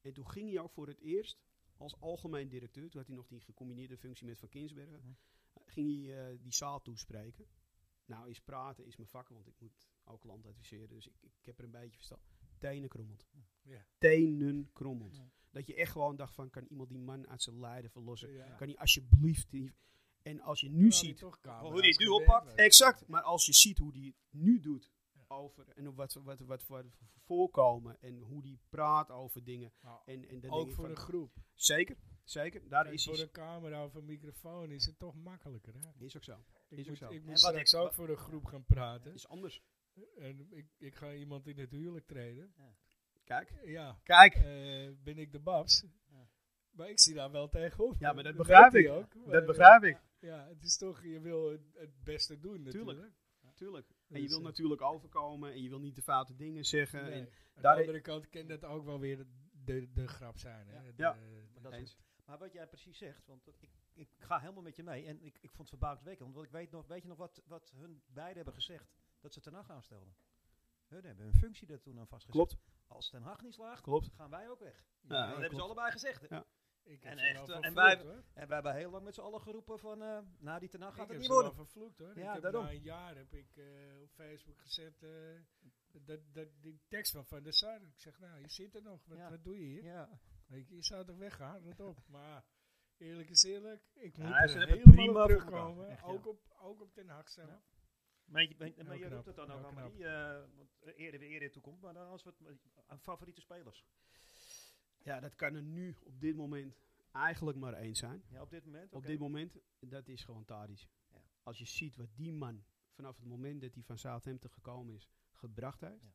En toen ging hij ook voor het eerst als algemeen directeur. Toen had hij nog die gecombineerde functie met Van Kinsbergen.
Ja.
Ging hij eh, die zaal toespreken. Nou, is praten is mijn vak, want ik moet ook land adviseren. Dus ik, ik heb er een beetje verstand. Tenen krommend.
Ja.
Tenen krommend.
Ja.
Dat je echt gewoon dacht van, kan iemand die man uit zijn lijden verlossen?
Ja.
Kan hij alsjeblieft... die- En als je nu
Terwijl hij
ziet Oh,
toch camera's
hoe hij het nu
gewend
oppakt.
was.
Exact. Maar als je ziet hoe die het nu doet
Ja.
over en hoe wat, wat, wat, wat voorkomen en hoe die praat over dingen.
Maar
En, en dan denk
Ook
ik
voor
van,
een groep.
Zeker, zeker. Daar
Kijk,
is
voor
hij.
een camera of een microfoon is het toch makkelijker. Hè?
Is ook zo.
Ik
ook
moet,
zo.
ik
wat
moet straks
ik-
ook
wat-
voor een groep gaan praten.
Is anders.
En ik, ik ga iemand in het huwelijk treden.
Kijk.
Ja,
Kijk.
eh, ben ik de babs.
Ja.
Maar ik zie daar wel tegenop.
Ja, maar dat
weet
begrijp
hij
ik.
ook, maar,
Dat begrijp ik.
Ja, het is toch, je wil het, het beste doen
Tuurlijk.
natuurlijk.
Tuurlijk. En je
Dus,
wil
eh,
natuurlijk overkomen en je wil niet de foute dingen zeggen.
Nee.
En
Aan
daar-
de andere kant kan dat ook wel weer de, de grap zijn. Hè?
Ja.
De-
Ja.
de-
Maar dat
Eens.
is- Maar wat jij precies zegt, want ik, ik ga helemaal met je mee. En ik, ik vond het verbazingwekkend, want ik weet nog, weet je nog wat, wat hun beiden hebben gezegd? Dat ze Ten Hag aanstelden. Hun hebben hun functie er toen aan vastgezet.
Klopt,
Als Ten Hag niet slaagt,
klopt.
gaan wij ook weg.
Ja,
dat hebben ze
klopt.
allebei gezegd. hè?
Ja.
Ik
En
heb ze wel
echt, eh,
vervloekt,
en wij-
hoor.
En wij hebben heel lang met z'n allen geroepen van, eh na die Ten Hag
ik
gaat het
heb
niet
ze wel
worden.
vervloekt hoor.
Ja,
ik heb
daarom.
Na een jaar heb ik eh, op Facebook gezet eh, dat, dat, die tekst van Van der Sar. Ik zeg, nou, je zit er nog. Wat,
Ja.
wat doe je hier?
Ja.
Weet je, je zou toch weggaan? Wat op. <laughs> Maar eerlijk is eerlijk, ik moet
Ja, ze
er
hebben het
helemaal
prima
op
voor
terugkomen.
elkaar. Echt, ja.
ook, op, ook op Den Haag zelf.
Ja.
Maar je, maar- maar
Heel
je
knap,
roept het dan
heel
ook allemaal
knap.
niet. eh, want eerder weer eerder toekomt. Maar dan als wat aan eh, favoriete spelers.
Ja, dat kan er nu op dit moment eigenlijk maar één zijn.
Ja, op dit moment.
Op
oké.
dit moment, dat is gewoon Tadic.
Ja.
Als je ziet wat die man vanaf het moment dat hij van Southampton gekomen is, gebracht heeft,
Ja.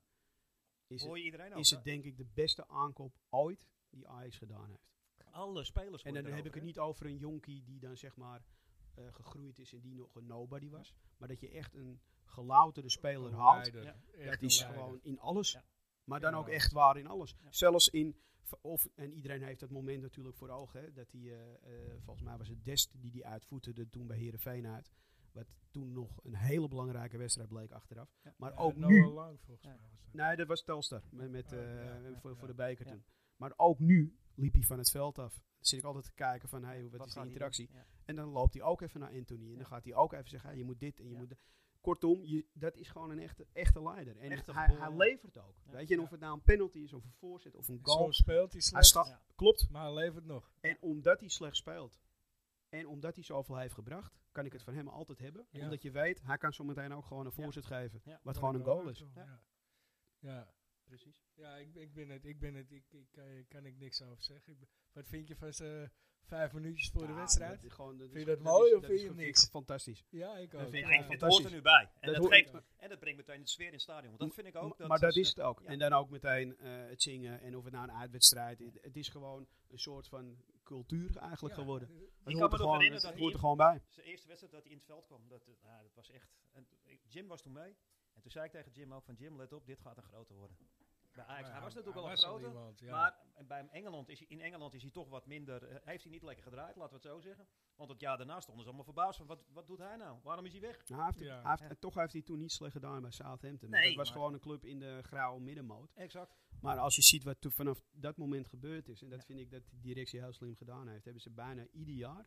is,
Hoor
het,
je iedereen
Nou,
ook.
is
hè?
eh,
het denk ik de beste aankoop ooit die Ajax gedaan heeft.
Alle spelers
En dan
worden
heb ik
erover,
het niet over een jonkie die dan zeg maar eh, gegroeid is en die nog een nobody was. Maar dat je echt een gelouterde speler
Een
haalt.
leider.
Ja.
Echt
Dat
een
is
leider.
gewoon in alles.
Ja.
Maar dan
Ja.
ook echt waar in alles.
Ja.
Zelfs in, v- of, en iedereen heeft dat moment natuurlijk voor ogen. Hè, dat hij, eh, eh, volgens mij was het Dest die die uitvoeterde toen bij Herenveen uit. Wat toen nog een hele belangrijke wedstrijd bleek achteraf.
Ja.
Maar
Ja,
ook
Noah
nu.
Lang volgens
Ja.
mij was dat.
Nee, dat was Telstar. Met, met,
Oh,
eh,
ja, ja,
voor, voor
ja.
de beker
Ja.
toen. Maar ook nu liep hij van het veld af. Dan zit ik altijd te kijken van, hey,
Wat
wat, is
gaat
de
hij
interactie?
doen? Ja.
En dan loopt hij ook even naar Anthony. En
Ja.
dan gaat hij ook even zeggen, hey, je moet dit en je
Ja.
moet dat. Kortom, je, dat is gewoon een echte, echte leider. En
Echte
hij,
geboren-
hij levert ook.
Ja.
Weet je, en
Ja.
of het nou een penalty is, of een voorzet, of een
Zo
goal.
speelt hij
Hij
slecht,
staat,
Ja.
klopt.
maar hij levert nog.
En omdat hij slecht speelt, en omdat hij zoveel heeft gebracht, kan ik het van hem altijd hebben.
Ja.
Omdat je weet, hij kan zometeen ook gewoon een voorzet geven.
Ja.
Wat gewoon een goal is.
Ja,
Ja.
ja. ja.
Precies.
ik, ik ben het. Ik ben het. Ik, ik, kan, ik kan ik niks over zeggen. Ik ben- wat vind je van zijn eh, vijf minuutjes voor de
Ja,
wedstrijd?
dat is gewoon-
Vind je
is-
dat mooi
is-
of vind
is
je
gewoon-
niks?
Fantastisch.
Ja, ik
dat
ook.
vind
Ja,
Ja.
ik vind het
fantastisch.
hoort er nu bij. En dat,
hoort-
geeft,
Ja.
en dat brengt meteen de sfeer in het stadion. Want dat vind ik ook.
M- maar dat is
eh,
het ook.
ja.
En dan ook meteen eh, het zingen en of het nou een uitwedstrijd is. Het is gewoon een soort van cultuur eigenlijk
Ja,
geworden.
eh,
Het
kan
hoort
me
er
nog
gewoon-
herinneren
het
dat
hoort er
hier-
gewoon bij.
Zijn eerste wedstrijd dat hij in het veld kwam, dat, eh, nou, dat was echt... En, ik- Jim was toen mee. En toen zei ik tegen Jim ook van, Jim, let op, dit gaat een grote worden. Bij
Nou
Ajax, hij was natuurlijk wel een grote.
iemand, ja.
Maar en bij hem Engeland is, hij- in Engeland is hij toch wat minder... eh, heeft hij niet lekker gedraaid, laten we het zo zeggen. Want het jaar daarna stonden ze allemaal verbaasd van, wat, wat doet hij nou? Waarom is hij weg?
Nou, hij heeft, het-
Ja.
hij heeft-
Ja.
en toch heeft hij toen niet slecht gedaan bij Southampton.
Nee,
dat was
maar-
gewoon een club in de grauwe middenmoot.
Exact.
Maar als je ziet wat toen vanaf dat moment gebeurd is, en dat
Ja.
vind ik dat de directie heel slim gedaan heeft, hebben ze bijna ieder jaar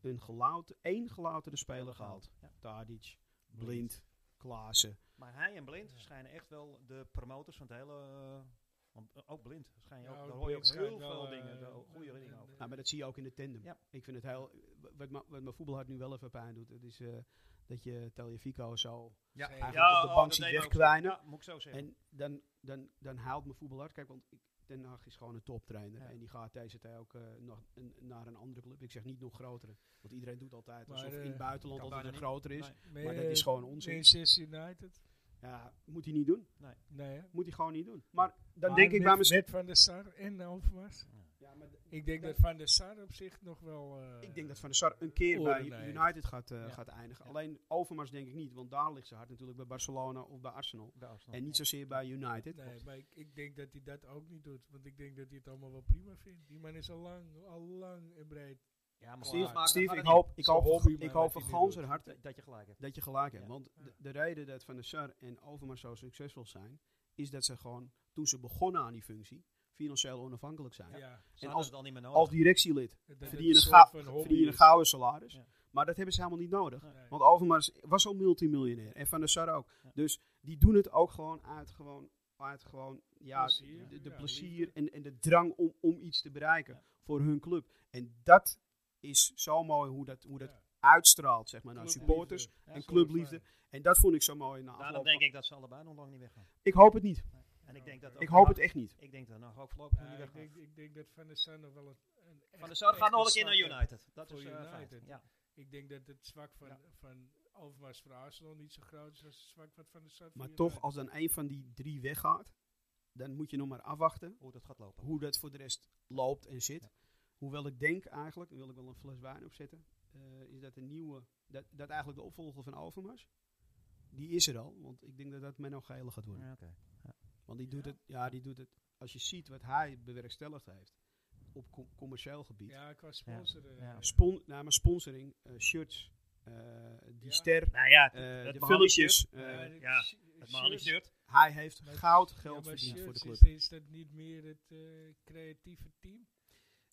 een gelout, één gelouterde speler gehaald.
Ja.
Tadic,
Blind.
Blind, Klaassen.
Maar hij en Blind
Ja.
schijnen echt wel de promotors van het hele... eh, want eh, ook Blind, schijn je
Ja,
ook,
ook
daar hoor je ook
Blind
heel
schijnt wel,
veel
eh,
dingen, de goede
eh,
dingen over.
Nou, maar dat zie je ook in de tandem.
Ja.
Ik vind het heel... Wat, ma- wat mijn voetbalhart nu wel even pijn doet, dat is eh, dat je Taliafico zo
Ja.
eigenlijk
Ja,
op de
oh,
bank
dat
ziet
deed ook-
wegkwijnen.
Ja, moet ik zo zeggen.
En dan, dan, dan haalt mijn voetbalhart... Kijk, want ik, Den Haag is gewoon een toptrainer.
Ja.
En die gaat deze tijd ook eh, nog een- naar een andere club. Ik zeg niet nog grotere. Want iedereen doet altijd
Maar,
alsof
eh,
in het buitenland
kan
altijd een
bijna
grotere is.
Nee.
Maar dat is gewoon onzin.
Manchester United?
Ja, moet hij niet doen.
Nee, hè?
Moet hij gewoon niet doen. Maar dan
Maar
denk ik
met-
bij mezelf...
Met Van der Sar en Overmars.
Ja, maar d-
Ik denk
Nee.
dat Van der Sar op zich nog wel... eh,
ik denk dat Van der Sar een keer bij
oren heeft.
United gaat, eh,
Ja.
gaat eindigen.
Ja.
Alleen Overmars denk ik niet. Want daar ligt zijn hart natuurlijk bij Barcelona of bij Arsenal.
Bij Arsenal.
En niet
Oh, Ja.
zozeer bij United.
Nee, maar ik, ik denk dat hij dat ook niet doet. Want ik denk dat hij het allemaal wel prima vindt. Die man is al lang, al lang en breed.
Ja, maar
Steve,
goed, maar-
Steve,
maar
ik
dat-
hoop, ik
Zo'n
hoop,
hobby, maar
ik
wat
hoop van
hij nu doet.
ganser hart
dat- Dat je gelijk hebt.
dat je gelijk hebt.
Ja.
Want
Ja.
de, de reden dat Van der Sar en Overmars zo succesvol zijn, is dat ze gewoon, toen ze begonnen aan die functie, financieel onafhankelijk zijn.
Ja.
Ze hadden
als-
het al niet meer nodig.
Als directielid
Dat- dat
verdien je een,
soort
gou-
van hobby
verdien je een
is.
gouden salaris.
Ja.
Maar dat hebben ze helemaal niet nodig.
Nee.
Want Overmars was al multimiljonair. En Van der Sar ook.
Ja.
Dus die doen het ook gewoon uit gewoon, uit gewoon ja,
Plezier.
de, de
Ja,
plezier
liefde.
en, en de drang om, om iets te bereiken
Ja.
voor hun club. En dat is zo mooi hoe dat, hoe dat
Ja.
uitstraalt zeg maar, naar
Clubliefde.
supporters.
Ja,
en
zo-
clubliefde. En dat vond ik zo mooi na
Daarom
afloop.
denk ik dat ze allebei nog lang niet weggaan.
Ik hoop het niet.
Nee. En ik denk dat
Ik
ook
hoop
nog-
het echt niet.
Ik denk dat nou, nog ook voorlopig nog
Ja,
niet
ik,
weggaan.
denk, ik denk dat Van der Sar nog wel een... een
Van
echt-
der Sar
echt
gaat nog een keer naar
stap heeft.
United. Dat
Voor
is eh, feit.
United.
Ja.
Ik denk dat het zwak van,
Ja.
van Overmars voor Arsenal niet zo groot is als het zwak wat Van der Sar voor
Maar
United.
toch, als dan een van die drie weggaat, dan moet je nog maar afwachten
Hoe dat gaat lopen.
hoe dat voor de rest loopt en zit.
Ja.
Hoewel ik denk eigenlijk, daar wil ik wel een fles wijn opzetten, eh, is dat de nieuwe, dat, dat eigenlijk de opvolger van Overmars, die is er al. Want ik denk dat dat Menno Gele gaat worden.
Ja, oké.
Want die doet,
Ja?
het, ja, die doet het, als je ziet wat hij bewerkstelligd heeft, op com- commercieel gebied.
Ja, qua sponsoren.
Ja.
eh,
Spon nou, maar sponsoring, eh, shirts, eh, die
Ja.
ster,
Nou ja,
eh,
het
de
Mahali
filmpjes.
ja,
eh,
dit
ja,
sh-
het
shirts-
Mali shirt.
hij heeft
Maar-
goud geld
ja, maar
verdiend voor de
shirts
club.
Is, is dat niet meer het eh, creatieve team?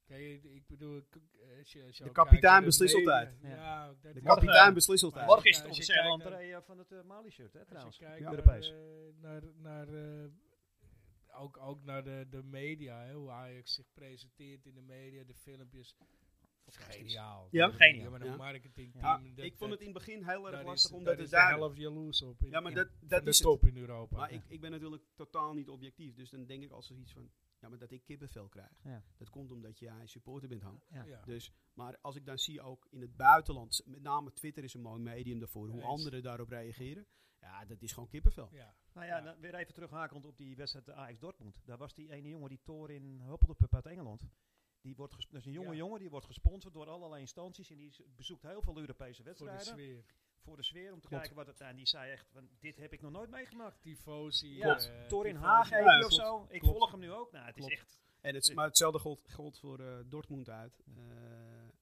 Kijk, ik bedoel, k- eh, als je, als je
De
ook
kapitein
kijkt naar
beslist
media-
altijd.
Ja, ook dat
De
is-
kapitein beslist
Maar
altijd.
Morgen is
als
het
je
officiële
kijkt naar-
Entree eh, van het eh, Mali shirt, hè,
Als
trouwens.
je kijkt
Ja,
naar,
Europees.
eh, naar, naar eh, ook, ook naar de, de media, hè, hoe Ajax zich presenteert in de media, de filmpjes. Geniaal.
Ja.
Dat is-
Geniaal.
Ja, maar een
Ja.
marketingteam.
Ja,
dat-
ik vond het in het begin heel
dat-
erg
daar
lastig,
is-
omdat
daar
het
is de
daar...
helft jaloers op. in-
Ja, maar
in-
dat,
van
dat
de
is het.
top in Europa.
Maar
Ja.
ik, ik ben natuurlijk totaal niet objectief. Dus dan denk ik als er iets van... Ja, maar dat ik kippenvel krijg.
Ja.
Dat komt omdat jij supporter bent, Han.
Ja.
Ja.
Dus, maar als ik dan zie ook in het buitenland... s- Met name Twitter is een mooi medium daarvoor. Hoe
Eens.
anderen daarop reageren. Ja, dat is gewoon kippenvel.
Ja.
Nou ja,
Ja.
dan weer even terughakend op die wedstrijd eh, Ajax Dortmund. Daar was die ene jongen, die Thor in Huppeldepup uit Engeland. Die wordt ges- dat is een jonge
Ja.
jongen, die wordt gesponsord door allerlei instanties. En die z- bezoekt heel veel Europese
Voor de
wedstrijden. Voor de
sfeer.
sfeer, om te kijken wat het... nou, en die zei echt, van, dit heb ik nog nooit meegemaakt.
Tifosi.
Ja,
eh,
Thor in
tifosi.
Haag
Ja,
heet die of
klopt.
zo. Ik
Klopt.
volg hem nu ook. Nou, het
Klopt.
is echt...
En het, is- maar hetzelfde geldt, geldt voor eh, Dortmund uit. Eh,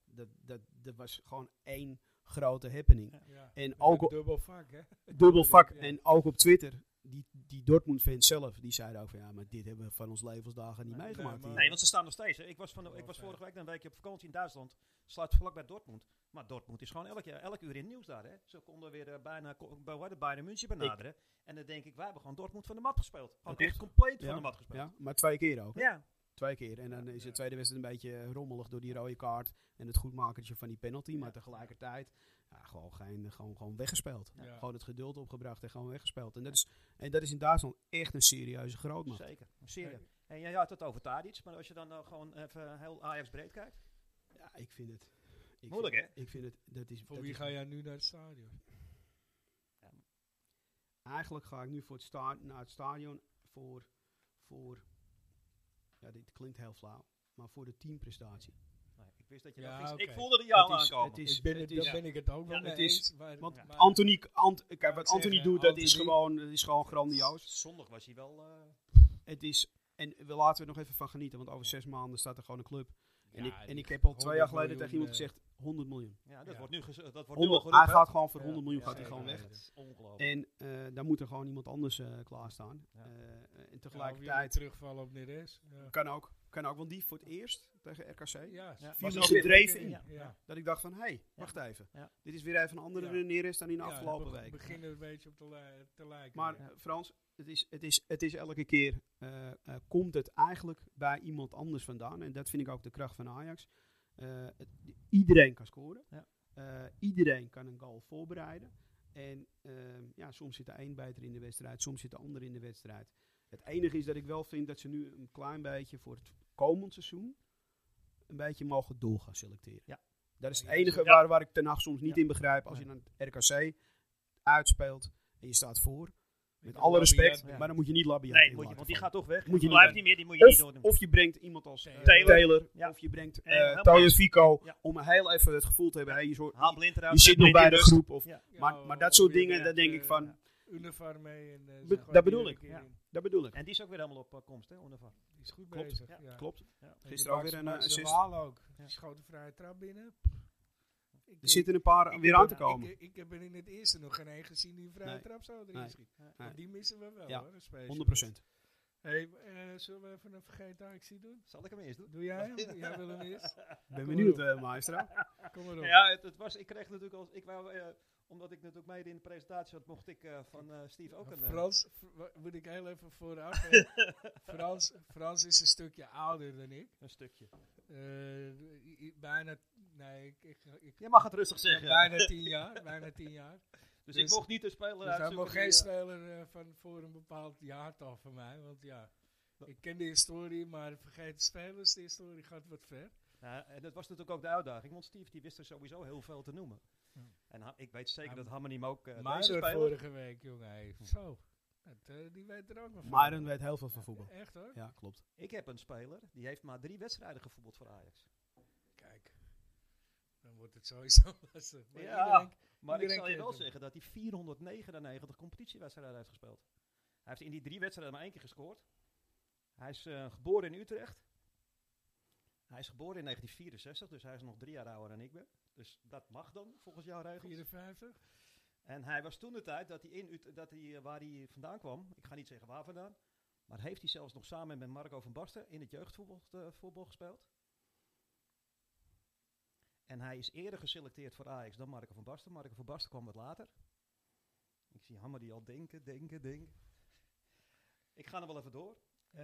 dat, dat, dat was gewoon één grote happening.
Ja.
En
Ook
ook,
een
op-
dubbel vak, hè?
dubbel vak.
<laughs> Ja.
En ook op Twitter. Die, die Dortmund-fans zelf, die zeiden ook van... Ja, maar dit hebben we van ons levensdagen niet
Nee,
meegemaakt.
nee,
hier.
maar-
Nee, want ze staan nog steeds. hè. Ik was, van de-
Oh,
ik was
fijn.
vorige week een weekje op vakantie in Duitsland. Sluit vlak bij Dortmund. Maar Dortmund is gewoon elk, jaar, elk uur in het nieuws daar. Hè. Ze konden weer eh, bijna, ko- bij- hoe heet het, Bayern München benaderen. En dan denk ik, wij hebben gewoon Dortmund van de mat gespeeld. Gewoon
Dat
echt
is-
compleet
Ja,
van de mat gespeeld.
Ja, maar twee keer ook.
Ja,
Twee keer. En dan is de tweede wedstrijd een beetje rommelig door die rode kaart. En het goedmakertje van die penalty. Maar tegelijkertijd ja, gewoon, geen, gewoon, gewoon weggespeeld.
Ja.
Gewoon het geduld opgebracht en gewoon weggespeeld. En dat is, en dat is in Duitsland echt een serieuze grootmacht.
zeker. Serieus. En ja, ja, tot over Tadic. Maar als je dan nou gewoon even heel Ajax breed kijkt.
Ja, ik vind het. Ik
Moeilijk,
vind, Ik vind het. Dat is,
Voor
dat
wie
is-
ga jij nu naar het stadion?
Eigenlijk ga ik nu voor het sta- naar het stadion voor. voor ja, dit klinkt heel flauw. Maar voor de teamprestatie.
Nee, ik wist dat je
Ja,
dat ging-
oké.
Ik voelde er jou
Het
aan
is-
aankomen.
het is-
ik ben het,
is-
daar ben ik het ook wel
Ja,
mee
het is-
eens. maar-
Want
maar-
Anthony, Ant- kijk, wat
zeggen,
Anthony doet, dat is
eh, Anthony-
gewoon, dat is gewoon grandioos.
Zondag was hij wel... eh,
Het is, en we laten we er nog even van genieten, want over zes maanden staat er gewoon een club. En,
Ja,
ik, en
die
ik heb al twee
100
jaar geleden tegen iemand
miljoen, eh,
gezegd, 100 miljoen.
ja, dat
Ja.
wordt nu, gez- dat wordt nu al
100,
geroepen.
hij gaat gewoon voor 100 miljoen
Ja,
gaat hij
zeker.
gewoon weg.
Ja.
Ongelooflijk.
En eh daar moet er gewoon iemand anders eh klaarstaan.
Ja.
Eh, en
Ja, of jullie
tegelijkertijd
terugvallen op Neres. Ja.
kan ook, kan ook, want die voor het eerst tegen RKC,
Ja,
Ja.
was
hij
ook
gedreven
weer-
in?
Ja.
dat ik dacht van, hé, hey, wacht even.
Ja.
Dit is weer even een andere
Ja.
neer is dan in de
Ja,
afgelopen
we
week.
beginnen een beetje op te, li- te lijken.
Maar
ja.
eh, Frans, het is, het, is, het is elke keer, eh, eh, komt het eigenlijk bij iemand anders vandaan. En dat vind ik ook de kracht van Ajax. Eh, het- iedereen kan scoren.
Ja.
Eh, iedereen kan een goal voorbereiden. En ehm, ja, soms zit de een beter in de wedstrijd, soms zit de ander in de wedstrijd. Het enige is dat ik wel vind dat ze nu een klein beetje voor het komend seizoen een beetje mogen door gaan selecteren.
Ja.
Dat is
Ja,
het
ja,
enige
ja.
waar, waar ik ten nacht soms niet
Ja.
in begrijp. Als je dan het RKC uitspeelt en je staat voor,
Ik
met
heb
alle
Labiat
respect,
ja.
maar dan moet je niet labiaat
Nee,
in
moet je,
laten
want die
vallen.
gaat toch weg.
Moet je
Die
niet
blijft
doen.
niet meer, die moet je niet doen.
Of je brengt iemand als eh, Taylor,
Taylor.
Ja.
of je brengt
En
eh
helemaal-
Toyo Fico,
Ja.
om heel even het gevoel te hebben, hey, je, zo-
Haal
je-
blind
je
eruit.
zit nog bij de
groep.
groep. Of,
Ja,
maar, maar dat
of
soort
weer
dingen,
met,
daar denk
eh,
ik van,
Univar mee. En, eh,
Be-
ze
dat
gooien
bedoel
iedere
ik.
keer
Ja.
in.
dat bedoel ik.
En die is ook weer helemaal op eh, komst, hè, Ondervan.
Die is goed
Klopt.
bezig.
Ja,
ja.
Klopt.
En
Gisteren
die
alweer
Max-
een, eh,
Max de
assist.
Waal ook.
Ja.
Die schoot een vrije trap binnen. Ik-
Er zitten een paar
ik-
weer
ik-
aan te komen.
Ik, ik heb er in het eerste nog geen één gezien die een vrije
Nee.
trap zou erin
Nee.
schieten.
Nee.
Maar Die missen we wel
Ja,
hoor. een specialist.
100 procent.
Hey, eh, zullen we even een vergeten actie doen?
Zal ik hem eerst doen?
Doe jij hem? jij
<laughs>
wil hem eerst?
Ik ben
Kom
benieuwd,
maar
eh maestro.
op. Kom maar op.
Ja, het, het was, ik kreeg natuurlijk als, ik wou, eh, omdat ik natuurlijk mede in de presentatie had, mocht ik eh, van eh, Steve ook een... eh,
Frans, v- wa- moet ik heel even vooraf. eh,
<laughs>
Frans, Frans is een stukje ouder dan ik.
Een stukje.
Eh, i- i- bijna, nee, ik, ik, ik-
Je mag het rustig
ja,
zeggen.
bijna tien jaar. Bijna tien jaar.
dus,
dus-
ik mocht niet een speler
Dus hij
uitzoeken.
mag
die,
geen
eh,
speler eh, van voor een bepaald jaartal van mij. Want ja, ik ken de historie, maar vergeet de spelers. De historie gaat wat ver.
ja, Nou, en dat was natuurlijk ook de uitdaging, want Steve die wist er sowieso heel veel te noemen.
Ja.
En ha- ik weet zeker
Ja,
dat Hammer hem ook eh
maar
deze
dat
speler... Hm.
vorige week, jongen. hey, Zo. Dat, eh, die weet er ook nog van.
Myron weet heel veel van voetbal.
Echt hoor.
Ja, klopt.
Ik heb een speler, die heeft maar drie wedstrijden gevoetbald voor Ajax.
Kijk. Dan wordt het sowieso <laughs> lastig. Maar
Ja.
iedereen-
Maar ik
Iedereen
zal je
kent
wel
hem.
zeggen dat hij 499 competitiewedstrijden heeft gespeeld. Hij heeft in die drie wedstrijden maar één keer gescoord. Hij is eh, geboren in Utrecht. Hij is geboren in 1964, dus hij is nog drie jaar ouder dan ik ben. Dus dat mag dan, volgens jouw regels.
54?
En hij was toen de tijd dat hij in Ut- dat hij, eh, waar hij vandaan kwam, ik ga niet zeggen waar vandaan, maar heeft hij zelfs nog samen met Marco van Basten in het jeugdvoetbal eh, voetbal gespeeld. En hij is eerder geselecteerd voor Ajax dan Marco van Basten. Marco van Basten kwam wat later. Ik zie Hammer die al denken, denken, denken. Ik ga er wel even door. Ehm,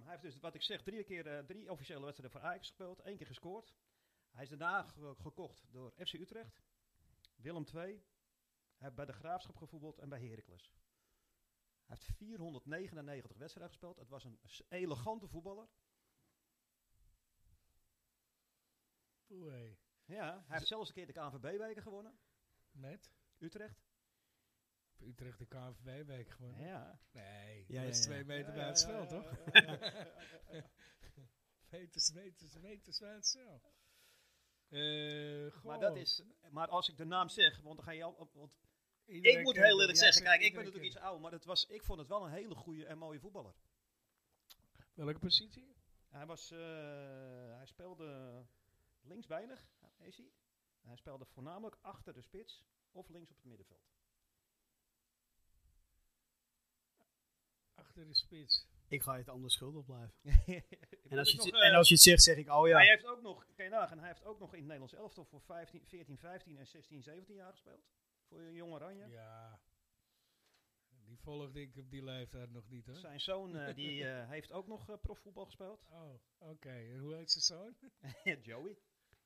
hij heeft dus, wat ik zeg, drie keer eh, drie officiële wedstrijden voor Ajax gespeeld. één keer gescoord. Hij is daarna ge- gekocht door FC Utrecht, Willem II, hij heeft bij de Graafschap gevoetbald en bij Heracles. Hij heeft 499 wedstrijden gespeeld. Het was een s- elegante voetballer.
Oei.
Ja, hij heeft zelfs een keer de KNVB-weken gewonnen.
Met?
Utrecht.
Utrecht de KNVB-week gewoon.
Ja.
Nee,
Ja,
dat is
ja, ja.
twee meter
Ja,
bij
ja,
het
ja,
spel,
ja,
toch?
ja, ja,
<laughs>
ja, ja.
Meters, meters, meters bij het spel. Eh, goh.
maar, dat is, maar als ik de naam zeg, want dan ga je al... op- Want
Iedereen
ik moet
kent
heel
hem.
eerlijk
Jij
zeggen,
zegt
kijk, ik
iedereen
ben natuurlijk iets ouder, maar dat was, ik vond het wel een hele goede en mooie voetballer.
kent hem. Welke positie?
Hij, was, eh, hij speelde links weinig, is hij. Hij speelde voornamelijk achter de spits of links op het <laughs> middenveld.
Achter de spits.
Ik ga je het anders schuldig blijven. En
Dat
als,
is
je het,
nog,
en
eh,
als je het zegt, zeg ik, oh
Hij
ja.
heeft ook nog, kan je nagaan, hij heeft ook nog in het Nederlands elftal voor 15, 14, 15 en 16, 17 jaar gespeeld. Voor een jong Oranje.
Ja. Die volgde ik op die leeftijd nog niet, hoor.
Zijn zoon eh, die, <laughs> eh, heeft ook nog eh, profvoetbal <laughs> gespeeld.
Oh, oké. En hoe heet zijn zoon?
Joey.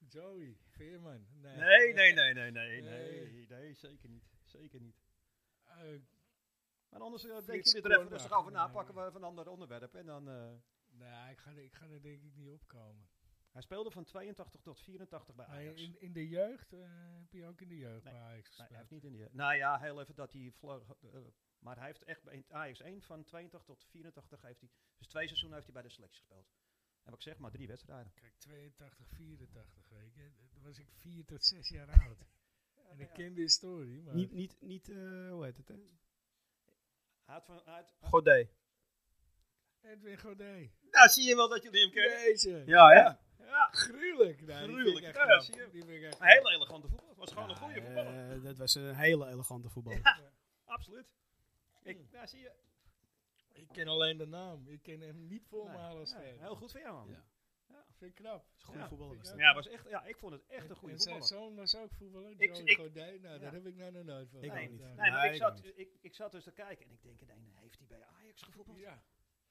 Joey Veerman. Nee,
Nee, nee, nee, nee, nee,
Nee.
nee, nee, zeker niet. Zeker niet.
Eh,
Maar anders eh, denken
Frits
jullie er even
Kornbach.
rustig over na,
Nee.
pakken we even een ander onderwerp en dan... eh,
nou, ik ga, er- ik ga er denk ik niet opkomen.
Hij speelde van 82 tot 84 bij
Maar
Ajax.
in, in de jeugd eh, heb je ook in de jeugd
Nee.
bij Ajax
Nee,
gespeeld.
hij heeft niet in de, nou ja, heel even dat hij vlog, eh, maar hij heeft echt bij in het Ajax 1 van 82 tot 84 heeft hij. Dus twee seizoenen heeft hij bij de selectie gespeeld. En wat ik zeg, maar drie wedstrijden.
Kijk, 82, 84, weet je. Toen was ik 4 tot 6 jaar oud. en ik ken de historie, maar...
Niet, niet, niet eh, hoe heet het, hè?
Hij had van, hij had-
Godé.
Edwin Godet.
nou, zie je wel dat jullie hem kennen.
Jezus.
Ja, ja.
Ja,
Gruwelijk. Nou, die
Gruwelijk,
vind ik echt
ja,
knap.
zie je.
Die vind ik echt
een hele elegante voetbal. Was gewoon een goede voetballer.
Eh, dat was een hele elegante voetballer.
Absoluut.
Hmm.
Ik, daar zie je.
knap. Ik ken alleen de naam. Ik ken hem niet voor me
Nee,
halen als
nee,
speler.
heel goed van jou, man.
Ja.
Ja,
Vind ik knap.
Is een goede
Ja,
voetballer.
vind
was
ik
dat.
ook.
was echt, ja, ik vond het echt een goede
en zijn
voetballer.
zoon was ook voetballer,
Ik-
Joey
ik-
Godet. Nou,
ja.
daar heb ik nou nog nooit van
Ik
gehoord.
ook niet.
Ja.
Nee, maar
Nee,
ik,
ik
zat,
niet.
ik, ik zat dus te kijken en ik denk, nee, nee, heeft hij bij Ajax gevoetbald?
Ja.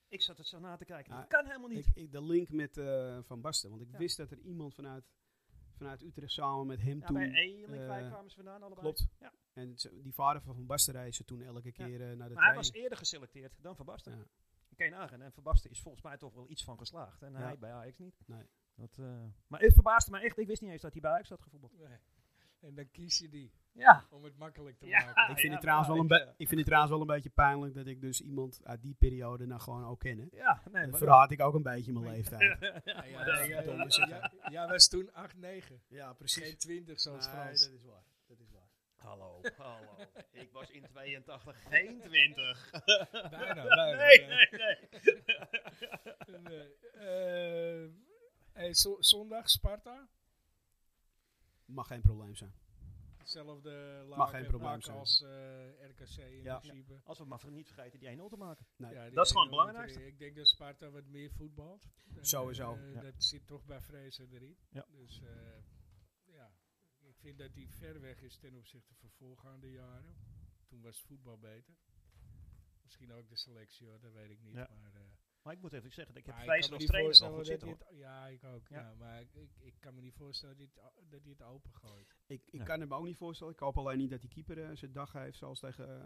Ik zat het zo na te kijken.
Ah,
dat kan helemaal niet.
Ik, ik, de link met eh, Van Basten. Want ik
Ja.
wist dat er iemand vanuit, vanuit Utrecht samen met hem
Ja, bij
toen...
Eelink
eh,
kwamen ze vandaan allebei.
Klopt.
Ja.
En ze- die vader van Van Basten reisde toen elke keer eh, naar de
Maar hij was
training.
eerder geselecteerd dan Van Basten.
Ja.
Kan je nagaan. En Van Basten is volgens mij toch wel iets van geslaagd. En
Ja.
hij bij Ajax niet.
Nee.
Dat, eh, maar het verbaasde mij echt. Ik wist niet eens dat hij bij Ajax had gevoetbald.
Nee. En dan kies je die
Ja.
om het makkelijk te
Ja.
maken.
Ik vind,
ja,
het trouwens wel een
maar
be-
ik, eh,
ik vind het trouwens wel een beetje pijnlijk dat ik dus iemand uit die periode nou gewoon ook ken. hè.
Ja, nee,
Dat
maar
verraad ik ook een beetje mijn leeftijd. <laughs>
Ja, ja,
dat
ja,
is
ja,
verdomme
ja,
zeggen.
ja, Jij was toen 8, 9.
Ja,
Geen 20 zoals Frans.
is waar. Dat is waar.
Hallo, hallo. Ik was in 82 geen 20.
Bijna, bijna.
<laughs> Nee,
bijna.
nee, nee.
Nee. Eh, hey, zo- zondag Sparta.
Mag geen probleem zijn.
Hetzelfde laag
Mag geen
en
probleem
plak
zijn.
als eh, RKC in
Ja.
principe.
Als we maar ver- niet vergeten die 1-0 te maken.
Nee,
Ja, die
dat is gewoon het
1-0
belangrijkste.
Ik denk dat Sparta wat meer voetbalt. En,
Sowieso,
eh,
ja.
Dat zit toch bij Vrezen erin.
Ja.
Dus eh, ja, ik vind dat die ver weg is ten opzichte van voorgaande jaren. Toen was voetbal beter. Misschien ook de selectie, hoor, dat weet ik niet.
Ja.
Maar, eh,
Maar ik moet even zeggen, dat ik heb
maar
Vijs
kan
als
me niet
trainer wel
voorstellen
goed
dat
zitten.
hij
hoor.
het- Ja, ik ook.
Ja.
Ja. maar ik, ik, ik kan me niet voorstellen dat hij het, o- dat hij het open gooit.
ik, ik
Nee.
kan het me ook niet voorstellen. Ik hoop alleen niet dat die keeper eh, zijn dag heeft zoals tegen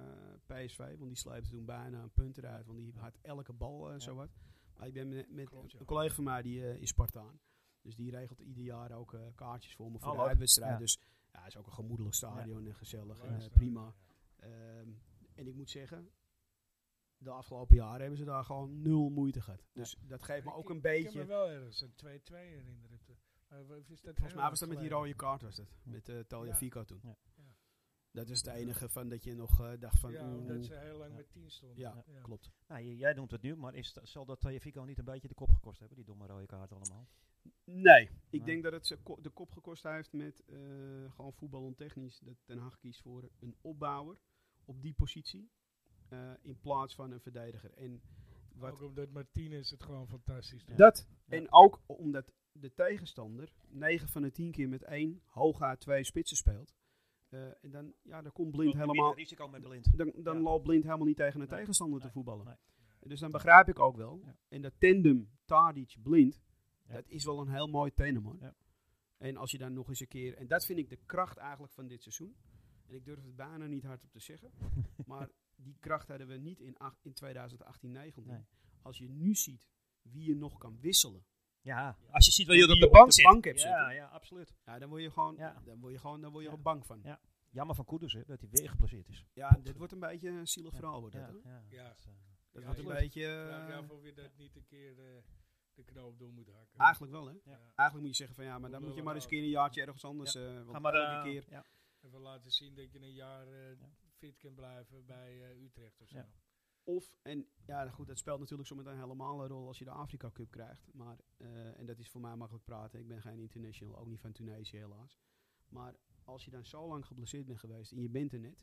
eh, PSV. Want die sleepte toen bijna een punt eruit. Want die had elke bal eh,
Ja.
zowat. Maar ik ben met, met
Klopt, ja.
een collega van mij die eh, is Spartaan. Dus die regelt ieder jaar ook eh, kaartjes voor me voor de
Hallo.
uitwedstrijd.
Ja.
Dus ja, het is ook een gemoedelijk stadion en gezellig en
Maar-
eh, prima. Ehm, en ik moet zeggen, de afgelopen jaren hebben ze daar gewoon nul moeite gehad. Dus dat geeft me
Ik-
ook een
Ik heb
beetje.
me wel ergens een 2-2 herinnerd. Maar wa- eh, is dat
Volgens mij was dat met die rode kaart, was dat. Met eh Talia
Ja.
Fico toen.
Ja.
Ja.
Dat is het enige van dat je nog eh, dacht van.
Ja,
oeh,
omdat
oeh.
ze heel lang
Ja.
met 10 stonden.
Ja,
Ja.
klopt.
eh, Nou, j- jij noemt het nu, maar is, dat- zal dat Tajafico niet een beetje de kop gekost hebben, die domme rode kaart allemaal?
Nee, ik
Nee.
denk dat het ze ko- de kop gekost heeft met eh, gewoon voetbal ontechnisch. Dat Ten Hag kiest voor een opbouwer op die positie eh, in plaats van een verdediger. En, wat,
Ook omdat Martinez het gewoon fantastisch doet.
dat,
Ja.
en ook omdat de tegenstander 9 van de 10 keer met één, hooguit twee spitsen speelt. Eh, en dan, ja, dan komt Blind helemaal
risico met blind.
dan, dan
Ja.
loopt Blind helemaal niet tegen een
Nee,
tegenstander
nee,
te voetballen.
nee.
Dus dan begrijp ik ook wel.
Ja.
En dat tandem Tadic-Blind,
Ja.
dat is wel een heel mooi tandem hoor.
Ja.
En als je dan nog eens een keer... En dat vind ik de kracht eigenlijk van dit seizoen. En ik durf het bijna niet hardop te zeggen. maar die kracht hadden we niet in, ach- in 2018 19
Nee.
Als je nu ziet wie je nog kan wisselen.
Ja,
Als je ziet wat je
wie
op
je
de bank
de
zit.
bank hebt zitten.
ja, ja, absoluut.
Ja, dan word je gewoon,
Ja.
dan word je gewoon, dan word je
Ja.
gewoon bang van. Ja,
Ja. Jammer van Koeders, hè, dat hij weer geplaceerd is.
dit wordt een beetje een zielig
Ja.
verhaal. Wordt dat,
Ja,
hoor.
ja,
Ja.
dat, eh,
dat
Ja,
wordt een
klopt.
beetje...
Vraag je
eh,
af of je dat niet een keer eh, de knoop door moet hakken.
Eigenlijk wel, hè?
Ja.
Eigenlijk moet je zeggen van ja, maar dan
Omdat
moet je nou?
we
maar
wel-
eens een keer een jaartje ergens anders. eh want
Ga maar
elke
eh,
keer.
Ja,
Even laten zien dat je een jaar eh,
Ja.
fit kan blijven bij eh, Utrecht of zo.
Ja.
Of, en ja, nou goed, dat speelt natuurlijk zometeen helemaal een rol als je de Afrika Cup krijgt. Maar, eh, en dat is voor mij makkelijk praten. Ik ben geen international, ook niet van Tunesië helaas. Maar als je dan zo lang geblesseerd bent geweest en je bent er net,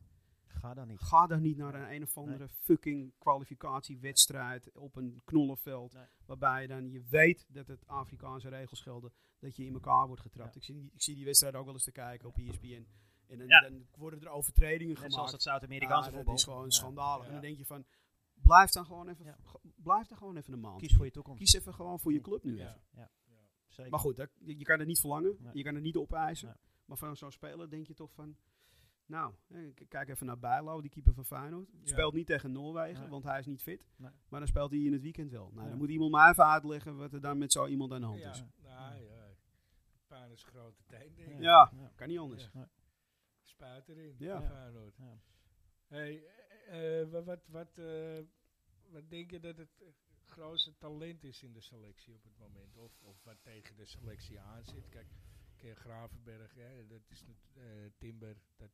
ga dan niet.
ga dan niet naar een een of andere fucking kwalificatiewedstrijd op een knollenveld.
Nee.
Waarbij je dan, je weet dat het Afrikaanse regels gelden, dat je in elkaar wordt getrapt.
Ja.
Ik, zie, die- ik zie die wedstrijd ook wel eens te kijken op E ESPN. En dan,
Ja.
dan worden er overtredingen
Net
gemaakt.
zoals het Zuid-Amerikaanse
Ja,
voetbal.
Dat is gewoon
Ja.
schandalig. En
Ja.
dan denk je van, blijf dan gewoon even,
Ja.
ge- blijf dan gewoon even een maand.
Kies Mm. voor je toekomst.
Kies even gewoon voor je club nu.
Ja.
even.
Zeker.
Maar goed, dat- je je kan het niet verlangen.
Nee.
Je kan het niet opeisen.
Nee.
Maar van zo'n speler denk je toch van, nou, hè, k- kijk even naar Bijlo, die keeper van Feyenoord.
Ja.
Speelt niet tegen Noorwegen,
Nee.
want hij is niet fit.
Nee.
Maar dan speelt hij in het weekend wel. Nou,
Ja.
dan moet iemand mij even uitleggen wat er dan met zo iemand aan de hand
Ja,
is.
nou ja. Paan is grote teen, denk ik.
Ja. Kan niet anders.
Ja. Spuit erin.
Ja.
Ja. Feyenoord.
Ja.
Hey, eh, eh, wa- wat, wat, eh, wat denk je dat het eh, grootste talent is in de selectie op het moment? Of, of wat tegen de selectie aan zit? Kijk, Keer Gravenberg, hè, dat is nat- eh, Timber. Dat,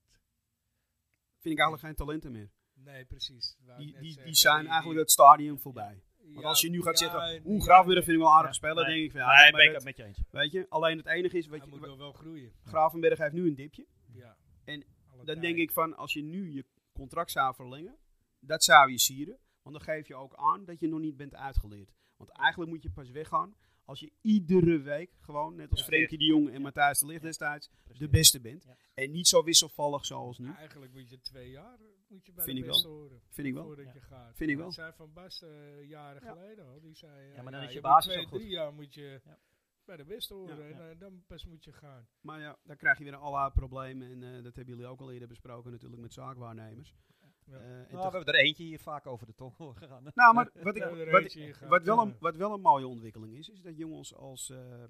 Vind ik eigenlijk geen talenten meer.
nee, precies. wou ik
Die,
net
die,
zeggen.
die zijn
Die-
eigenlijk
die-
het stadium voorbij. Want
ja,
als je nu gaat
ja,
zeggen,
en-
oeh, Gravenberg vind ik wel een aardig
Ja.
speler,
Nee.
denk ik van ja,
Nee,
maar
ben ik
dat-
het met je eens.
Weet je, alleen het enige is, weet
Hij
je,
moet nog wel groeien.
Gravenberg heeft nu een dipje.
Ja.
En
Alle
Dan
tijd.
denk ik van, als je nu je contract zou verlengen, dat zou je sieren. Want dan geef je ook aan dat je nog niet bent uitgeleerd. Want eigenlijk moet je pas weggaan als je iedere week gewoon, net als
Ja.
Frenkie de Jong en Matthijs de Ligt
Ja.
destijds, de
Precies.
beste bent.
Ja.
En niet zo wisselvallig zoals nu.
Eigenlijk moet je twee jaar eh, moet je bij
Hm? Vind
de
ik
beste horen.
Vind ik wel.
Voordat
Ja.
je gaat.
Vind ik
Dat
wel.
zei Van Bas eh, jaren
Ja.
geleden al. Die zei, eh,
Ja, maar dan is je
moet
basis
twee,
al goed.
drie jaar moet je
Ja.
bij de beste horen.
Ja,
ja.
En eh, dan pas moet je gaan.
Maar ja, dan krijg je weer een alla probleem. En eh, dat hebben jullie ook al eerder besproken natuurlijk met zaakwaarnemers.
Ja.
Eh, en
Nou, we hebben er eentje hier vaak over de tong horen gaan.
Nou, maar wat ik,
Ja, er
wat,
eentje in gaat, eh,
wat, wel een,
ja.
wat wel een mooie ontwikkeling is, is dat jongens als eh eh,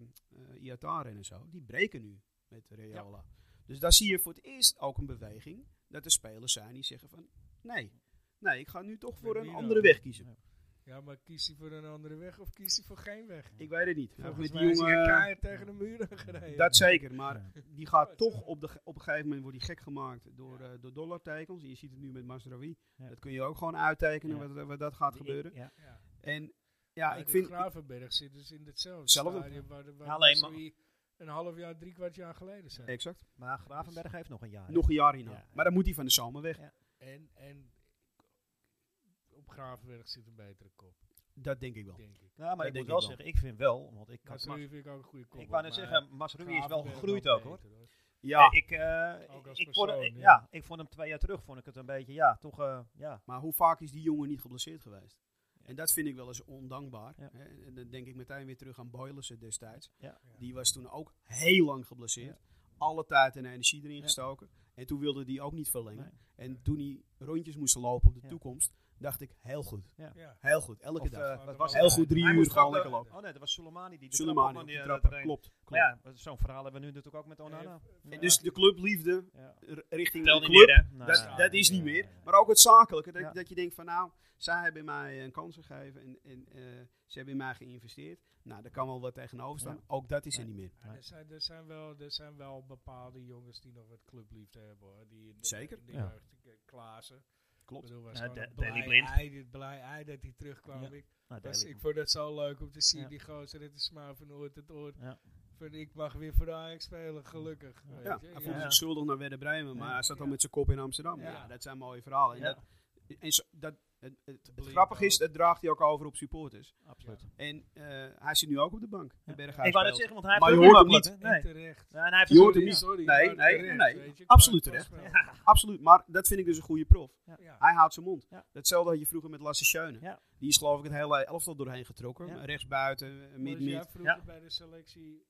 Iataren en zo, die breken nu met Reola. Dus daar zie je voor het eerst ook een beweging dat er spelers zijn die zeggen van nee, nee, ik ga nu toch voor een
Mino.
andere weg kiezen.
Ja, maar kiest hij voor een andere weg of kiest hij voor geen weg?
Ik weet het niet.
Volgens
Met
mij is
die
hij
jongen, eh,
keihard tegen de muren gereden.
dat zeker, maar
Ja.
die
Ja,
gaat toch op, de, ge- op een gegeven moment wordt die gek gemaakt door, eh door dollartekens. Je ziet het nu met Masraoui.
Ja.
Dat kun je ook gewoon uittekenen
Ja.
wat, wat dat gaat gebeuren.
Ja.
ja.
En ja,
Maar
ik
die
vind,
Gravenberg zit dus in hetzelfde
Hetzelfde.
stadium waar, de- waar
Alleen
de
maar-
Missouri een half jaar, drie kwart jaar geleden zijn.
exact.
Maar Gravenberg heeft nog een jaar. Nou, hè?
Nog een jaar hierna.
Ja.
Maar dan moet hij van de zomer weg.
Ja.
En, en op Gravenberg zit een betere kop,
Dat denk ik wel.
denk ik.
Nou, maar ik
denk
moet
ik
wel
wel.
zeggen, ik vind wel, want ik kan...
Masrui vind ik ook een goede kop.
Nou, Ik wou net
maar eh,
zeggen, Masrui is wel
Gravenberg
gegroeid
wel
ook hoor.
beter,
Ja,
Ik, eh,
Ook als
ik, vond,
persoon,
ik-
ja.
ja, ik vond hem twee jaar terug, vond ik het een beetje, ja, toch, eh, ja.
maar hoe vaak is die jongen niet geblesseerd geweest? En dat vind ik wel eens ondankbaar.
Ja.
Hè. En dan denk ik meteen weer terug aan Boylissen destijds.
Ja.
Ja.
Die was toen ook heel lang geblesseerd. Alle tijd en energie erin
Ja.
gestoken. En toen wilde die ook niet verlengen. En toen hij rondjes moest lopen op de
Ja.
toekomst, dacht ik heel goed.
Ja.
Heel goed, elke
Of,
dag.
eh, wat was
Heel
heel
het?
goed, drie
Hij
uur
moest
gewoon
ook,
lekker
eh,
lopen.
Oh nee, dat was Soleimani die de
Soleimani,
trap
op
opnam, die,
die
eh,
trappen,
erin-
klopt. klopt.
Maar ja, zo'n verhaal hebben we nu natuurlijk ook met Onana. Ja.
En dus de clubliefde
Ja.
r- richting
Tel
de
niet
club.
meer, hè?
Nee, nee,
Dat, dat is
Nou nee,
niet meer.
nee, nee.
Maar ook het zakelijke. Dat,
Ja.
dat je denkt van nou, zij hebben mij een kans gegeven en, en eh, ze hebben in mij geïnvesteerd. Nou, daar kan wel wat tegenover staan.
Ja.
Ook dat is er
Nee.
niet meer.
Ja, er, zijn, er, zijn wel, er zijn wel bepaalde jongens die nog wat clubliefde hebben hoor. Die in de-
Zeker.
in de
Ja.
jeugd, eh, Klaassen.
Klopt.
Ik bedoel, was
Ja,
gewoon
Da-
een
Daley
blij
Blind.
ei- blij ei dat hij terugkwam.
Ja.
Ik,
Nou,
was,
Daley-
ik vond dat zo leuk om te zien.
Ja.
Die gozer, het is maar van oor tot oor.
Ja.
Van, ik mag weer voor de Ajax spelen, gelukkig. weet
Ja,
je.
hij voelde
Ja.
zich schuldig naar Werder Bremen, maar hij zat al met zijn kop in Amsterdam. Ja,
Ja.
dat zijn mooie verhalen. En,
Ja.
dat, en zo- dat, het, het, het
Blind
grappige is,
ook.
dat draagt hij ook over op supporters.
Absoluut.
En eh, hij zit nu ook op de bank.
Ja.
De Berghuis
Ik wou dat
speelt.
zeggen, want hij
Maar
heeft
je
ook
hoort
niet
hem
wat, hè?
En
Nee.
terecht.
Ja, en hij heeft
Je hoort hem
Sorry,
niet.
sorry,
Nee,
maar
nee,
terecht,
nee,
weet je,
absoluut
qua
<laughs>
terecht.
voorspel.
Absoluut, maar dat vind ik dus een goede prof.
Ja.
Hij houdt zijn mond.
Ja.
Hetzelfde had je vroeger met Lasse Schöne.
Ja.
Die is geloof ik het hele elftal doorheen getrokken.
Ja.
Rechtsbuiten,
Maar Als jij
mid-mid.
vroeger
Ja.
bij de selectie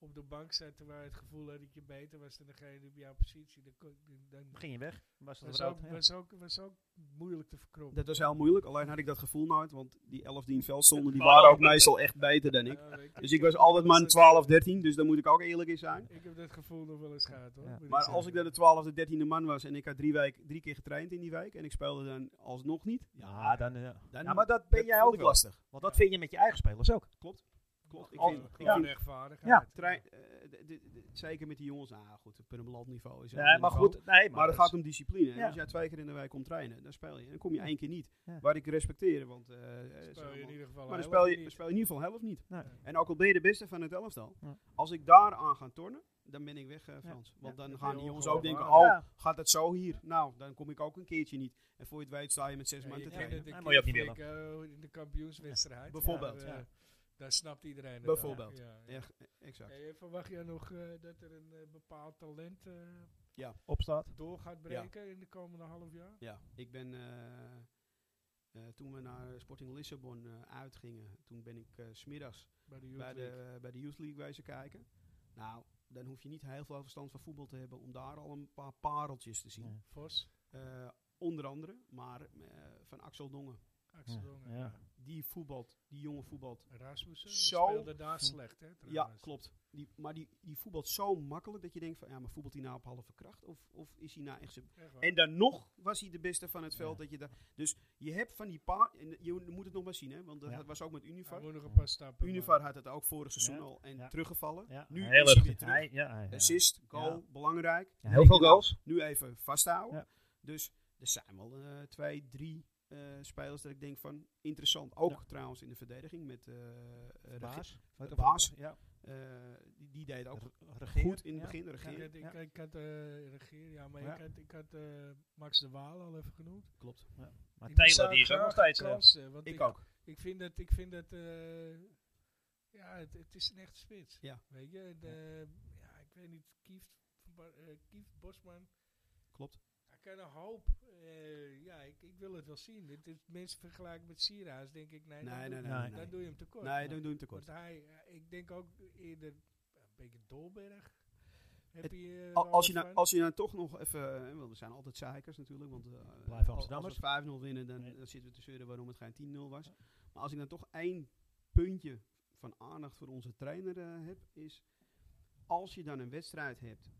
op de bank zat, terwijl je het gevoel had dat je beter was dan degene op jouw positie, dan, kon- dan
ging je weg. Was dat
was,
rood?
ook,
Ja.
was, ook, was ook moeilijk te verkroppen.
Dat was heel moeilijk, alleen had ik dat gevoel nooit. Want die elf die in het veld stonden, die
waren
waren ook
ook beter.
meestal echt beter dan ik.
Ja, weet je,
Dus ik
heb
was altijd maar een
dat-
12, 13, dus daar moet ik ook eerlijk in zijn.
Ik heb dat gevoel nog wel eens gehad hoor.
Ja.
moet
Maar
zeggen.
als ik dan de 12e, 13e man was en ik had drie, week, drie keer getraind in die week en ik speelde dan alsnog niet.
Ja, dan, eh,
dan
ja, maar dat ben
dat
jij
vond
ook
ik
wel.
lastig.
Want dat vind je met je eigen spelers ook.
Klopt. Ik
Gewoon-
vind, ik
gewoon
vind
rechtvaardigheid.
Ja.
trein- eh, d- d- d- zeker met die jongens, nou goed, het Purmerland-niveau is een
Nee,
ander
maar
niveau.
goed. Nee,
Maar het
dat
gaat om discipline. hè.
Ja.
Als jij twee keer in de week komt trainen, dan speel je. En dan kom je één keer niet.
Ja.
Waar ik respecteer, want... eh,
Speel
eh, zo
je in
allemaal-
ieder geval
maar dan
heel
speel
erg
je,
niet.
speel je in ieder geval helft niet.
Nee.
En ook al ben je de beste van het elftal,
Ja.
als ik daar aan ga tornen, dan ben ik weg, eh, Frans. Want
Ja,
dan
dat
gaan
ben
die
je
jongens ook denken,
ongelooflijk.
oh,
Ja.
gaat het zo hier? Nou, dan kom ik ook een keertje niet. En voor je het weet sta je met zes
Ja,
man
je
te
kent
trainen.
het een
Ah, moet je ook
keer
niet
flink, eh, in de kampioenswedstrijd. Ja,
Bijvoorbeeld,
eh,
ja.
Daar snapt iedereen het.
Bijvoorbeeld.
Ja, ja.
Ja, g- exact.
Hey, verwacht jij nog eh, dat er een eh, bepaald talent eh,
opstaat.
door gaat breken in de komende half jaar?
Ja, ik ben... eh, eh, toen we naar Sporting Lissabon eh, uitgingen, toen ben ik eh, 's smiddags
Bij de
bij
Youth League?
de, bij de Youth League wezen kijken. Nou, dan hoef je niet heel veel verstand van voetbal te hebben om daar al een paar pareltjes te zien.
Ja.
Vos,
Eh, onder andere, maar eh, van Axel Dongen.
Axel
Ja,
Dongen,
ja.
ja.
Die voetbalt, die jongen voetbalt.
Rasmussen, die
Zo.
speelde
Hm.
daar slecht, hè?
Ja,
trouwens.
klopt. Die, maar die, die voetbalt zo makkelijk dat je denkt van, ja, maar voetbalt hij nou op halve kracht? Of, of is hij nou echt zo...
Echt waar.
En dan nog was hij de beste van het veld.
Ja.
Dat je daar dus je hebt van die paar... en Je moet het nog maar zien, hè. Want dat
Ja.
was ook met
Hij
Univar.
moet nog een paar stappen.
Univar had het ook vorig seizoen
Ja.
al en
Ja.
teruggevallen.
Ja.
Nu
Heel
is hij
erg.
weer terug.
Hij- ja, hij- ja.
Assist, goal, belangrijk.
Ja, heel veel goals.
nu even vasthouden.
Ja.
Dus er zijn wel eh, twee, drie eh, spelers dat ik denk van interessant. Ook trouwens in de verdediging met eh eh, Regi-
Baas.
De baas.
Ja.
eh, die, die deed ook
Regeren,
goed in het
ja.
begin.
Ik had,
Regeren.
ik,
Ja.
ik had eh, regeer, ja, maar
Ja.
ik had, ik had eh, Max de Waal al even genoemd.
Klopt.
Maar
Ik
Taylor
zou
die is ook
graag
nog steeds...
een
eh,
kans, eh, want
Ik ook.
Ik vind dat, ik vind dat eh, ja, het, het is een echte spits.
Ja.
Weet je, en, eh, ja, ik weet niet, Kieft, van Ba- eh, Kieft Bosman,
Klopt.
hij kan een hoop. Eh, ja, ik, ik wil het wel zien. Dit is mensen vergelijken met Sierra's, denk ik, nee,
Nee,
dan,
nee,
doe, je-
nee. Nee,
Nee.
dan
nee.
doe je hem tekort.
nee dan doe
Want
je hem tekort.
hij, eh, ik denk ook eerder eh, een beetje Dolberg. Heb
Het-
je, eh,
Al-
wel
Als je,
wat
nou,
van?
als je nou toch nog even... eh, Want er zijn altijd zeikers natuurlijk. Want eh,
Blijven
als-
Amsterdammers.
Als we 5-0 winnen, dan,
Nee.
dan zitten we te zeuren waarom het geen 10-0 was. Maar als ik dan toch één puntje van aandacht voor onze trainer eh, heb, is... Als je dan een wedstrijd hebt,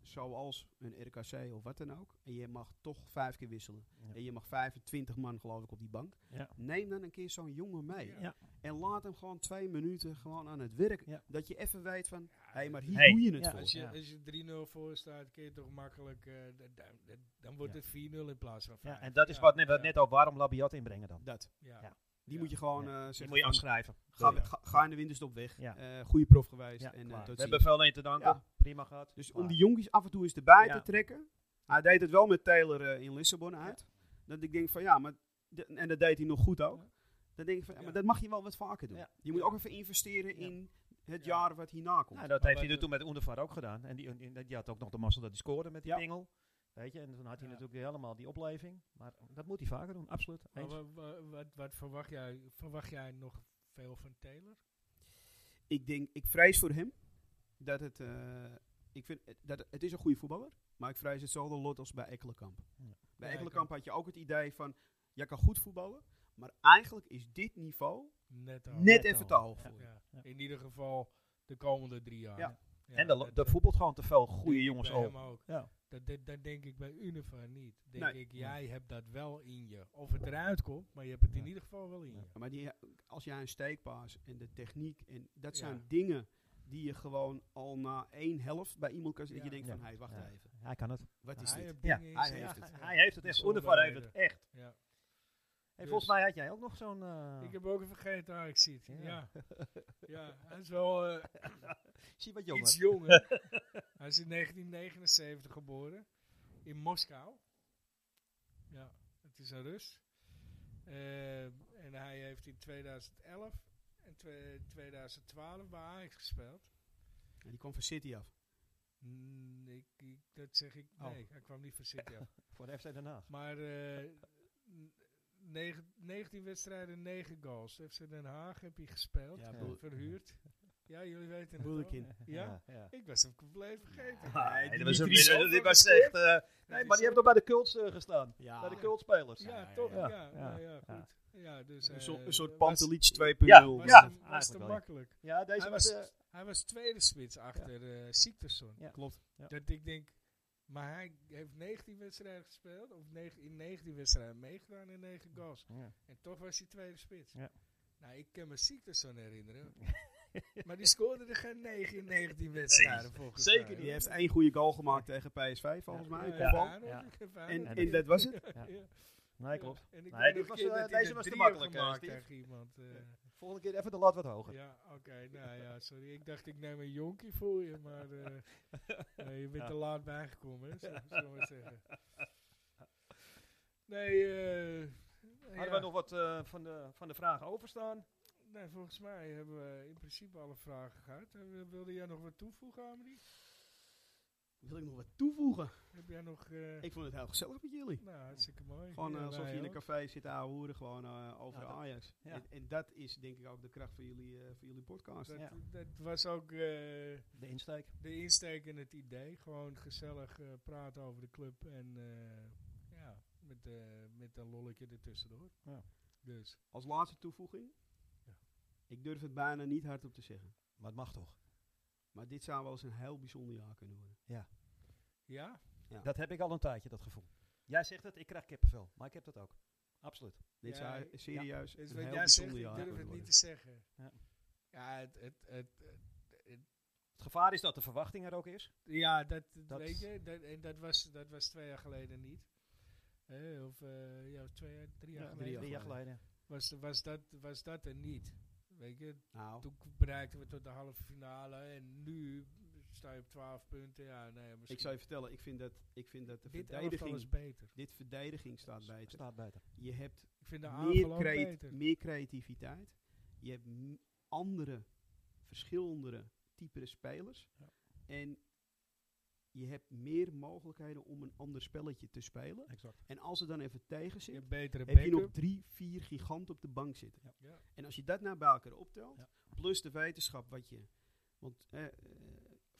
zoals een RKC of wat dan ook... En je mag toch vijf keer wisselen.
Ja.
En je mag 25 man geloof ik op die bank.
Ja.
Neem dan een keer zo'n jongen mee.
Ja.
En laat hem gewoon twee minuten gewoon aan het werk.
Ja.
Dat je even weet van...
Ja,
Hé, maar
dat-
hier
Hey,
doe je het
ja,
voor.
Als je,
Ja.
als je 3-0 voor staat, kun je toch makkelijk. eh, d- d- d- dan wordt
Ja.
het 4-0 in plaats van 5.
Ja, en dat is wat net, wat net al waarom Labiat inbrengen dan.
Dat.
Ja.
ja.
Die
Ja.
moet je gewoon
Ja. Die
eh, zeggen
moet je
van,
afschrijven.
Ga,
Ja.
ga, ga in de winterstop weg.
Ja.
Eh, goede prof geweest.
Ja,
en, eh,
klaar. we
tot ziens.
hebben veel aan je te danken.
Ja.
Prima gehad.
dus
Klaar.
om die jonkies af en toe eens erbij
Ja.
te trekken. Hij deed het wel met Taylor eh, in Lissabon uit. Dat ik denk van ja, maar de- en dat deed hij nog goed ook.
Ja.
Dan denk ik van ja, maar
Ja.
dat mag je wel wat vaker doen.
Ja.
Je moet ook even investeren
Ja.
in het
Ja.
jaar wat hierna komt.
Nou, dat heeft
bij
hij er
de-
toen met Oendevaar ook gedaan. En die, en die, die had ook nog de mazzel dat hij scoorde met die
Ja.
pingel. Weet je, en toen had hij
Ja.
natuurlijk weer helemaal die opleving. Maar dat moet hij vaker doen, absoluut.
Maar
Eens.
wa- wa- wat, wat verwacht jij? Verwacht jij nog veel van Taylor?
Ik denk, ik vrees voor hem dat het, eh, ik vind, eh, dat het is een goede voetballer, maar ik vrees hetzelfde lot als bij Ekkelenkamp.
Ja.
Bij
Ja,
Ekkelenkamp had je ook het idee van, jij kan goed voetballen, maar eigenlijk is dit niveau
Net al.
net
net
even
al.
te hoog
Ja.
voor je.
Ja.
Ja.
In ieder geval de komende drie jaar.
Ja.
Ja,
en de, lo-
dat-
de
dat
voetbalt gewoon te veel
denk
goede
ik
jongens
bij hem
over.
ook.
Ja.
Dat, dat, dat denk ik bij Unifa niet. Denk
Nee.
ik, jij hebt dat wel in je. Of het eruit komt, maar je hebt het in
Ja.
ieder geval wel in
Ja.
je.
Maar die, als jij een steekpaas en de techniek, en dat
Ja.
zijn dingen die je gewoon al na één helft bij iemand kan zien. Dat
Ja.
je denkt
Ja.
van, hé, wacht
Ja.
even.
Hij kan het.
Wat
Maar
is
hij
dit?
heeft
Ja,
dingen in
hij
zijn-
heeft
ja,
het.
ja.
Hij heeft het echt. Oendevaar heeft het echt.
Ja. Dus-
volgens mij had jij ook nog zo'n... eh,
Ik heb ook even vergeten waar ik zit.
Ja.
Ja.
<laughs>
ja, hij is wel eh,
Zie wat
iets
jonger.
<laughs>
jonger. hij is in 1979 geboren in Moskou. Ja, het is een Rus. Eh, en hij heeft in 2011 en twe- 2012 bij Ajax gespeeld.
En die kwam van City af.
Mm, ik, ik- dat zeg ik.
Oh.
Nee, hij kwam niet van City af. <laughs>
Voor de FC Den Haag.
Maar eh, n- negen- 19 wedstrijden, 9 goals. FC Den Haag heb hij gespeeld,
Ja,
eh,
Boel-
verhuurd. Ja, jullie weten het wel.
Boelekin.
Ja?
<laughs> ja.
Ik was hem compleet vergeten.
Nee,
Ah, die
dat was, een,
Dries
dit- dit
Hofman
was
gescoord.
echt... eh, nee, maar die hebben toch bij de cults eh, gestaan.
Ja.
Bij de cultspelers.
Ja,
Ja,
toch?
ja,
Ja, ja,
ja,
ja, goed. Ja, dus,
Een,
eh,
soort- een soort
was-
Pantelic 2.0.
Was,
Ja,
te, was te
eigenlijk wel, ja.
makkelijk.
Ja, deze
Hij
was...
was-
eh,
Hij was tweede spits achter eh Sigtorsson.
Ja.
Klopt.
Ja.
Dat ik denk, maar hij heeft 19 wedstrijden gespeeld, of negen- in 19 wedstrijden meegedaan en 9 goals.
ja.
En toch was hij tweede spits.
Ja.
Nou, ik kan me Sigtorsson
<laughs>
herinneren. maar die scoorde er geen 9 in 19 wedstrijden volgens
Zeker
mij.
niet.
Die heeft één goede goal gemaakt tegen PSV, volgens
Ja,
mij.
ja,
kopbal.
daarom,
Ja.
daarom.
En,
Ja.
en dat was het.
<laughs> Ja.
Nee, klopt.
En
Nee,
ik weet
dit
nog een
was,
keer
eh,
dat hij
deze
er
was te
drie heeft
makkelijk, eh,
gemaakt
Steve.
tegen iemand. eh.
Volgende keer even de lat wat hoger.
Ja, oké. nou ja, sorry. Ik dacht, ik neem een jonkie voor je, maar eh,
<laughs>
nee, je bent te laat bijgekomen, hè, zullen we- zullen we maar zeggen. Nee, eh
Hadden
ja.
wij nog wat eh, van, de, van de vragen overstaan?
nee, volgens mij hebben we in principe alle vragen gehad. Eh, wil- Wilde jij nog wat toevoegen, Amelie?
Wil ik nog wat toevoegen?
Heb jij nog... eh,
Ik vond het heel gezellig met jullie.
nou, hartstikke mooi.
Gewoon
Ja,
eh, alsof
wij
je in een
ook.
café zit te ouwehoeren, gewoon eh, over
Ja, dat-
Ajax.
ja.
En, en dat is denk ik ook de kracht van jullie, eh, van jullie podcast.
Dat,
Ja.
dat was ook eh,
De insteek.
de insteek en het idee. Gewoon gezellig eh, praten over de club en eh, ja, met, eh met een lolletje ertussendoor.
Ja.
Dus,
Als laatste toevoeging.
Ja.
Ik durf het bijna niet hardop te zeggen.
Maar het mag toch?
Maar dit zou wel eens een heel bijzonder jaar kunnen worden.
ja,
Dat heb ik al een tijdje, dat gevoel. Jij zegt het, ik krijg kippenvel. Maar ik heb dat ook. Absoluut.
Ja,
Dit zou
ja.
serieus
dus
een
wat
heel
jij zegt,
bijzonder
ik
jaar
durf
kunnen
het niet
worden.
te zeggen.
Ja.
Ja, het, het, het, het-
Het gevaar is dat de verwachting er ook is.
ja dat,
Dat-
weet je, dat, en dat was, dat was twee jaar geleden niet. Hè, of eh, ja, twee, jaar- drie jaar
drie
geleden
jaar.
Drie jaar geleden.
was, was, dat, was dat er niet. Weet je,
Nou,
toen bereikten we tot de halve finale en nu sta je op 12 punten. Ja, nee, misschien
ik zou je vertellen, ik vind dat, ik vind dat de
dit elftal
verdediging,
is beter.
dit verdediging staat beter.
Staat beter.
Je hebt
Ik vind de
meer,
aanval ook
creat-
beter.
meer creativiteit. Je hebt m- andere, verschillende typere spelers.
Ja.
En je hebt meer mogelijkheden om een ander spelletje te spelen.
Exact.
En als het dan even tegen
Je
zit,
hebt betere
heb je nog
backup.
drie, vier giganten op de bank zitten.
Ja.
En als je dat naar bij elkaar optelt,
Ja.
plus de wetenschap wat je... Want eh, eh,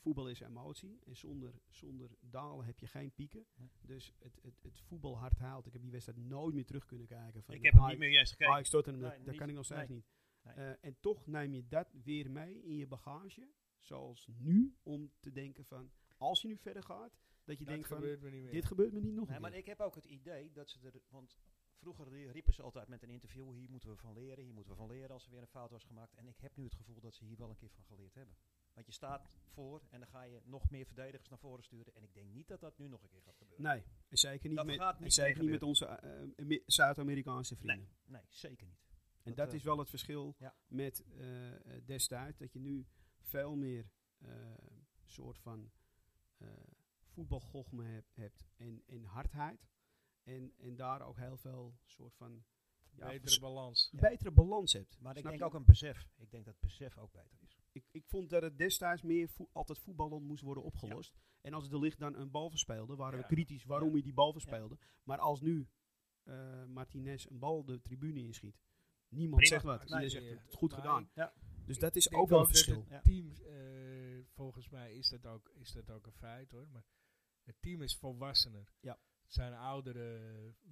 voetbal is emotie en zonder, zonder dalen heb je geen pieken.
Nee.
Dus het, het, het voetbal hard haalt. Ik heb die wedstrijd nooit meer terug kunnen kijken. Van
Ik heb hem
Ajax-
niet meer eens gekeken.
Ajax Tottenham,
Nee,
dat, dat
niet.
kan Ah, ik nog steeds
Nee.
niet.
Nee.
Eh, en toch neem je dat weer mee in je bagage, zoals nu, om te denken van, als je nu verder gaat, dat je
Dat
denkt van,
gebeurt me niet meer.
dit gebeurt me niet nog
Nee,
een
maar
keer.
ik heb ook het idee dat ze er... Want vroeger rie- riepen ze altijd met een interview... hier moeten we van leren, hier moeten we van leren... als er weer een fout was gemaakt. En ik heb nu het gevoel dat ze hier wel een keer van geleerd hebben. Want je staat voor en dan ga je nog meer verdedigers naar voren sturen. En ik denk niet dat dat nu nog een keer gaat gebeuren.
Nee, en zeker niet
Dat
met,
gaat
en
niet meer
zeker niet met onze eh, Ami- Zuid-Amerikaanse vrienden.
Nee, zeker niet.
En
Dat,
dat
eh,
is wel het verschil
ja.
met eh, eh, destijds. Dat je nu veel meer eh, soort van eh voetbalgochme heb- hebt en, en hardheid. En, en daar ook heel veel soort van ja,
betere
vers-
balans.
betere balans hebt.
Maar ik
Snap
denk
je?
ook een besef. Ik denk dat besef ook beter is.
ik, ik vond dat het destijds meer voe- altijd voetballen moest worden opgelost. En als de licht dan een bal verspeelde, waren
Ja.
we kritisch waarom hij die bal verspeelde. Maar als nu eh, Martinez een bal de tribune inschiet, niemand
Prima.
zegt wat.
Nee,
Iedereen
nee,
zegt het
nee.
is goed
Maar
gedaan.
Ja.
Dus
Ik
dat is
denk
ook wel een
dat het
verschil.
Ja.
Team, eh, volgens mij is dat, ook, is dat ook een feit hoor. Maar het team is volwassener.
Ja.
Het zijn oudere,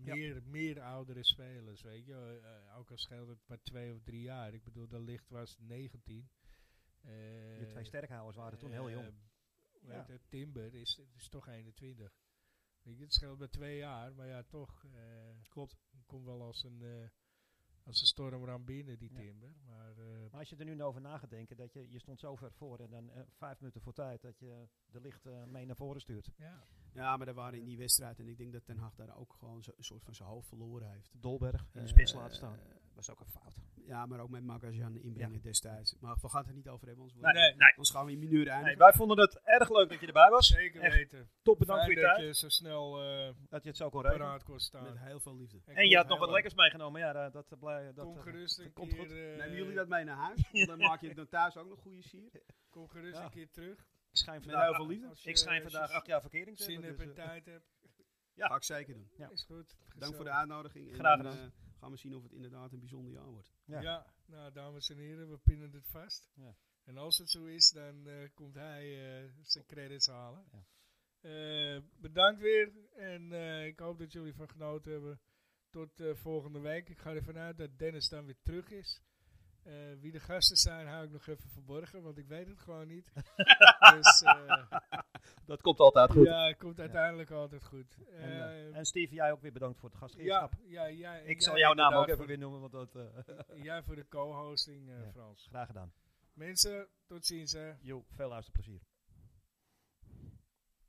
Ja.
meer, meer oudere spelers, weet je. Eh, eh, ook al scheelt het maar twee of drie jaar. Ik bedoel, de licht was 19. Eh,
De twee sterkhouders waren toen heel
eh,
jong.
hoe
Ja.
heet het, Timber is, is toch 21. Weet je, het scheelt maar twee jaar, maar ja, toch. eh,
Klopt.
Komt wel als een, eh, Als een storm ram binnen, die
Ja.
timber. Maar, eh,
Maar als je er nu over na gaat denken, dat je, je stond zo ver voor en dan eh, vijf minuten voor tijd dat je de licht eh, mee naar voren stuurt.
ja.
Ja, maar daar waren in die wedstrijd. En ik denk dat Ten Hag daar ook gewoon zo- een soort van zijn hoofd verloren heeft.
Dolberg in de
Eh,
spits laten staan.
eh,
Dat was ook een fout.
ja, maar ook met Magajan inbrengen destijds. Maar we gaan het er niet over hebben. Anders,
Nee,
wordt-
nee, nee.
anders gaan we in minuut eindigen.
wij vonden het erg leuk dat je erbij was.
Zeker
Echt.
weten.
Top bedankt
Bedankt
voor je
dat
tijd.
je zo snel eh
Dat je het zo kon regelen.
paraat kon staan.
Met heel veel liefde.
En je had nog wat
lekker.
lekkers meegenomen. Ja, dat, dat, blij- dat,
Kom
eh,
gerust een
komt
keer.
goed.
eh,
Nemen jullie dat mee naar huis? Want dan maak je het dan thuis ook nog goede sier.
Kom gerust
Ja.
een keer terug.
ik schijn
Met heel
vandaag,
veel liefde.
Als je-
ik schijn
als je
vandaag acht jaar verkering te
Zin
hebben.
hebt
dus,
en
eh,
tijd hebt.
Ja.
Ga ik zeker doen.
Ja.
Is goed.
Dank voor de
Gezellig.
uitnodiging. En
Graag
dan,
gedaan.
eh, gaan we zien of het inderdaad een bijzonder jaar wordt.
Ja.
Ja. nou dames en heren, we pinnen het vast.
Ja.
En als het zo is, dan eh, komt hij eh, zijn credits halen.
Ja.
Eh, bedankt weer en eh, ik hoop dat jullie van genoten hebben. Tot eh, volgende week. Ik ga ervan uit dat Dennis dan weer terug is. Eh, wie de gasten zijn, hou ik nog even verborgen, want ik weet het gewoon
<laughs>
niet. dus eh,
dat komt altijd goed.
ja, het komt uiteindelijk altijd goed.
en, eh,
Eh,
en Steve, jij ook weer bedankt voor het
ja,
gastgeverschap.
ja, ja, en
Ik zal
jij
jouw naam ook
inderdaad
even weer noemen, want dat... eh,
voor- Jij voor de co-hosting, eh,
Ja.
Frans.
graag gedaan.
Mensen, tot ziens hè.
Jo, veel luisterplezier.